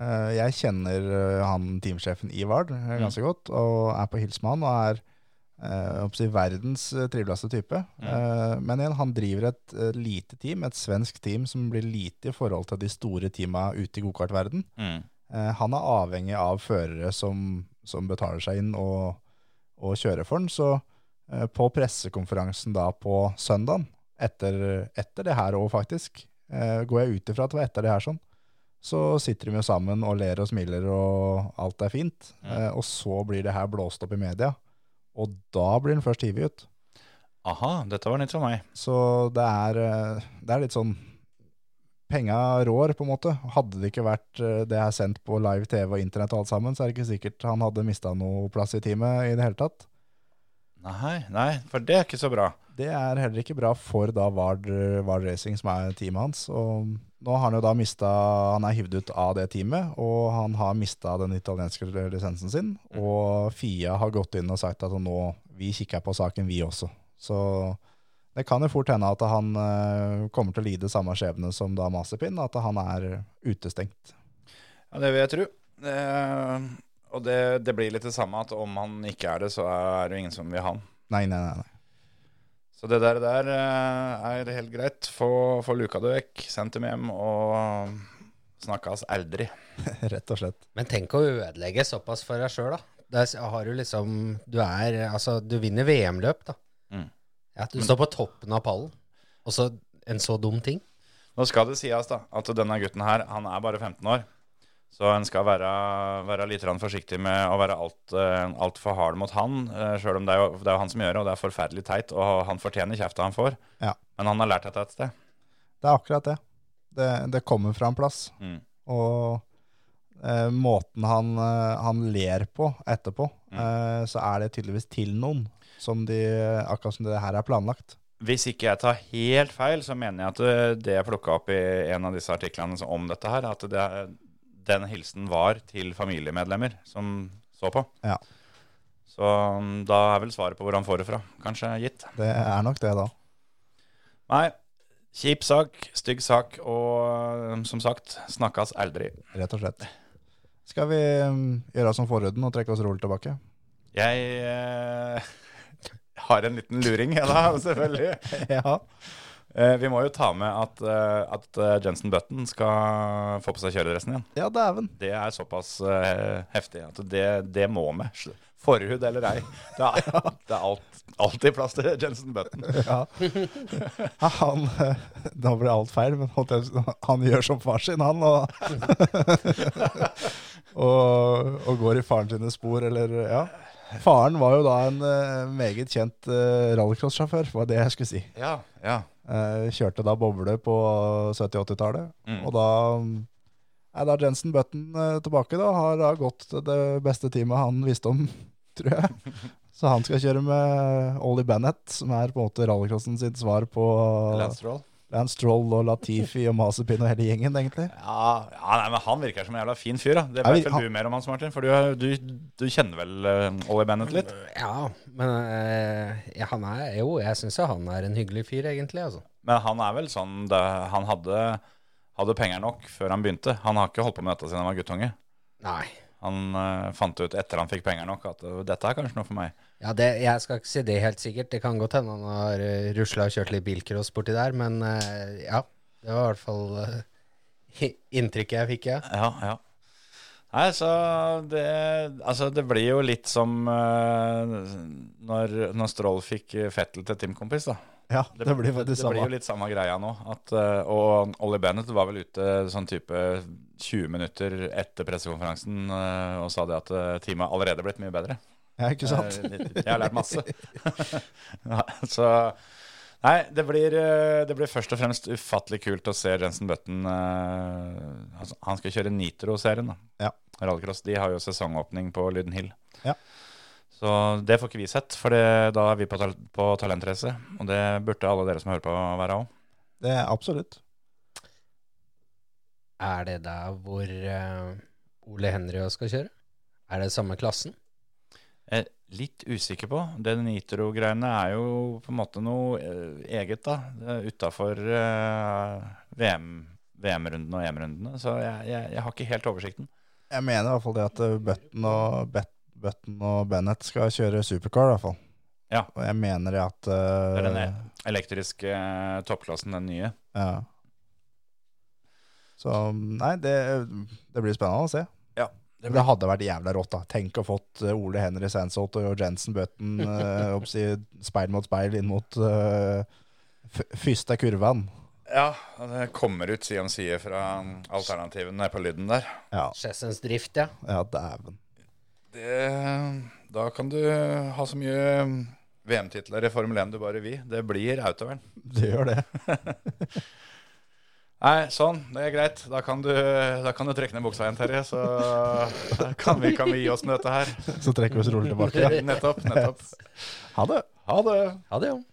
S4: eh, jeg kjenner eh, han teamsjefen i Vard eh, ganske godt, og er på hils med han. Og er eh, jeg håper å si, verdens eh, triveligste type. Eh, men igjen, han driver et eh, lite team, et svensk team som blir lite i forhold til de store teama ute i gokartverden.
S3: Mm.
S4: Eh, han er avhengig av førere som, som betaler seg inn og, og kjører for den. Så eh, på pressekonferansen da på søndagen, etter, etter det her òg faktisk, eh, går jeg ut ifra at det var etter det her sånn, så sitter de jo sammen og ler og smiler og alt er fint. Eh, og så blir det her blåst opp i media, og da blir den først hivet ut.
S3: Aha, dette var nytt for meg.
S4: Så det er, eh, det er litt sånn Penga rår, på en måte. Hadde det ikke vært eh, det her sendt på live TV og internett og alt sammen, så er det ikke sikkert han hadde mista noe plass i teamet i det hele tatt.
S3: Nei, nei, for det er ikke så bra.
S4: Det er heller ikke bra for da Vard, Vard Racing, som er teamet hans. Og nå har han jo da mista Han er hivd ut av det teamet, og han har mista den italienske lisensen sin. Og Fia har gått inn og sagt at nå vi kikker på saken, vi også. Så det kan jo fort hende at han eh, kommer til å lide samme skjebne som da Mazepin, at han er utestengt.
S3: Ja, det vil jeg tro. Det- og det, det blir litt det samme at om han ikke er det, så er det jo ingen som vil ha han.
S4: Nei, nei, nei. nei.
S3: Så det der, der eh, er helt greit. Få, få luka det vekk, sendt dem hjem, og snakkes aldri.
S4: [laughs] Rett og slett.
S5: Men tenk å ødelegge såpass for deg sjøl, da. Der har du liksom Du er Altså, du vinner VM-løp, da.
S3: Mm.
S5: Ja, du står på toppen av pallen, og så en så dum ting.
S3: Nå skal det sies da, at denne gutten her, han er bare 15 år. Så en skal være, være litt grann forsiktig med å være altfor alt eh, alt for hard mot han, eh, sjøl om det er, jo, det er jo han som gjør det, og det er forferdelig teit, og han fortjener kjefta han får.
S4: Ja.
S3: Men han har lært dette et sted.
S4: Det er akkurat det. Det, det kommer fra en plass.
S3: Mm.
S4: Og eh, måten han, eh, han ler på etterpå, eh, så er det tydeligvis til noen. Som de, akkurat som det her er planlagt.
S3: Hvis ikke jeg tar helt feil, så mener jeg at eh, det jeg plukka opp i en av disse artiklene som- om dette her, at det, er- den hilsen var til familiemedlemmer som så på.
S4: Ja.
S3: Så mm, da er vel svaret på hvor han får det fra, kanskje gitt.
S4: Det er nok det, da.
S3: Nei, kjip sak, stygg sak, og eh, som sagt, snakkes aldri.
S4: Rett og slett. Skal vi mm, gjøre som forhuden og trekke oss rolig tilbake?
S3: Jeg eh, [laughs] har en liten luring, jeg da, [laughs] selvfølgelig.
S4: Ja.
S3: Eh, vi må jo ta med at, eh, at eh, Jensen Button skal få på seg kjøredressen igjen.
S4: Ja, dæven.
S3: Det er såpass eh, heftig at det, det må med. Sl- Forhud eller ei. Det er, [laughs] det er alt, alltid plass til Jensen Button.
S4: Ja. [laughs] Ja, Han, eh, da ble alt feil, men holdt jeg, han gjør som far sin, han. Og, [laughs] og, og går i faren sine spor, eller ja. Faren var jo da en eh, meget kjent eh, rallycross-sjåfør, var det jeg skulle si.
S3: Ja, ja.
S4: Eh, kjørte da boble på 70-80-tallet,
S3: Mm.
S4: og da mm, er da Jensen Button eh, tilbake, da. Har da gått det beste teamet han visste om, [laughs] tror jeg. Så han skal kjøre med Ollie Bennett, som er på en måte rallycrossen sitt svar på
S3: Lance Stroll.
S4: Lance Stroll og Latifi og Mazepin og hele gjengen, egentlig.
S3: Ja, ja nei, men han virker som en jævla fin fyr. da Det
S4: Ja, vi-
S3: vet vel du mer om Hans Martin, for du, er- du, du kjenner vel uh, Ollie Bennett litt?
S5: Ja, men eh, ja, han er Jo, jeg syns jo han er en hyggelig fyr, egentlig. altså.
S3: Men han er vel sånn det, Han hadde, hadde penger nok før han begynte. Han har ikke holdt på med dette siden han var guttunge.
S5: Nei.
S3: Han eh, fant ut etter han fikk penger nok at eh, dette er kanskje noe for meg.
S5: Ja, det, Jeg skal ikke si det helt sikkert. Det kan godt hende han har uh, rusla og kjørt litt bilcross borti der, men eh, ja. Det var i hvert fall eh, hi- inntrykket jeg fikk, ja.
S3: Ja, ja. Nei, så det, altså det blir jo litt som eh, når, når Stroll fikk eh, Fettel til teamkompis, da.
S4: Ja, det, blir faktisk
S3: det blir
S4: samme.
S3: jo litt samme greia nå. At, eh, og Ollie Bennett var vel ute sånn type 20 minutter etter pressekonferansen eh, og sa det at eh, teamet har allerede blitt mye bedre.
S4: Ja, ikke sant?
S3: Eh, litt- Jeg har lært masse. [laughs] Nei, så Nei, det blir, eh, det blir først og fremst ufattelig kult å se Jensen Button eh, altså, Han skal kjøre Nitro-serien, da.
S4: Ja.
S3: Rallycross. De har jo sesongåpning på Lyden Hill.
S4: Ja.
S3: Så det får ikke vi sett, for det, da er vi på, tal på talentrace. Og det burde alle dere som hører på, være òg.
S4: Det er absolutt.
S5: Er det der hvor eh, Ole Henry også skal kjøre? Er det samme klassen?
S3: Jeg er litt usikker på. Det Nitro-greiene er jo på en måte noe eh, eget, da. Utafor eh, VM, VM-rundene og EM-rundene. Så jeg, jeg, jeg har ikke helt oversikten.
S4: Jeg mener i hvert fall det at eh, Button og, Bet Button og Bennett skal kjøre supercar, i hvert fall.
S3: Ja.
S4: Og jeg mener det at
S3: Det
S4: eh,
S3: er den e- elektriske eh, toppklassen, den nye.
S4: ja. Så um, nei, det, det blir spennende å se.
S3: Ja,
S4: det, hadde vært jævla rått, da. Tenk å fått eh, Ole Henry Sandsholt og Jensen Button [laughs] eh, opp si, speil mot speil inn mot eh, f- første kurven.
S3: Ja, og det kommer ut side om side fra alternativene på lyden der.
S4: Ja,
S5: Chessens drift, ja.
S4: ja dæven.
S3: Det, da kan du ha så mye eh, VM-titler i Formel 1 du bare vil. Det blir autovern.
S4: Det gjør [laughs] det.
S3: Nei, sånn. Det er greit. Da kan du, da kan du trekke ned buksa igjen, Terje. Så da kan vi, kan vi gi oss med dette her.
S4: Så trekker vi oss rolig tilbake.
S3: Nettopp. nettopp.
S4: Ha det.
S3: Ha det.
S5: Ha det, jo.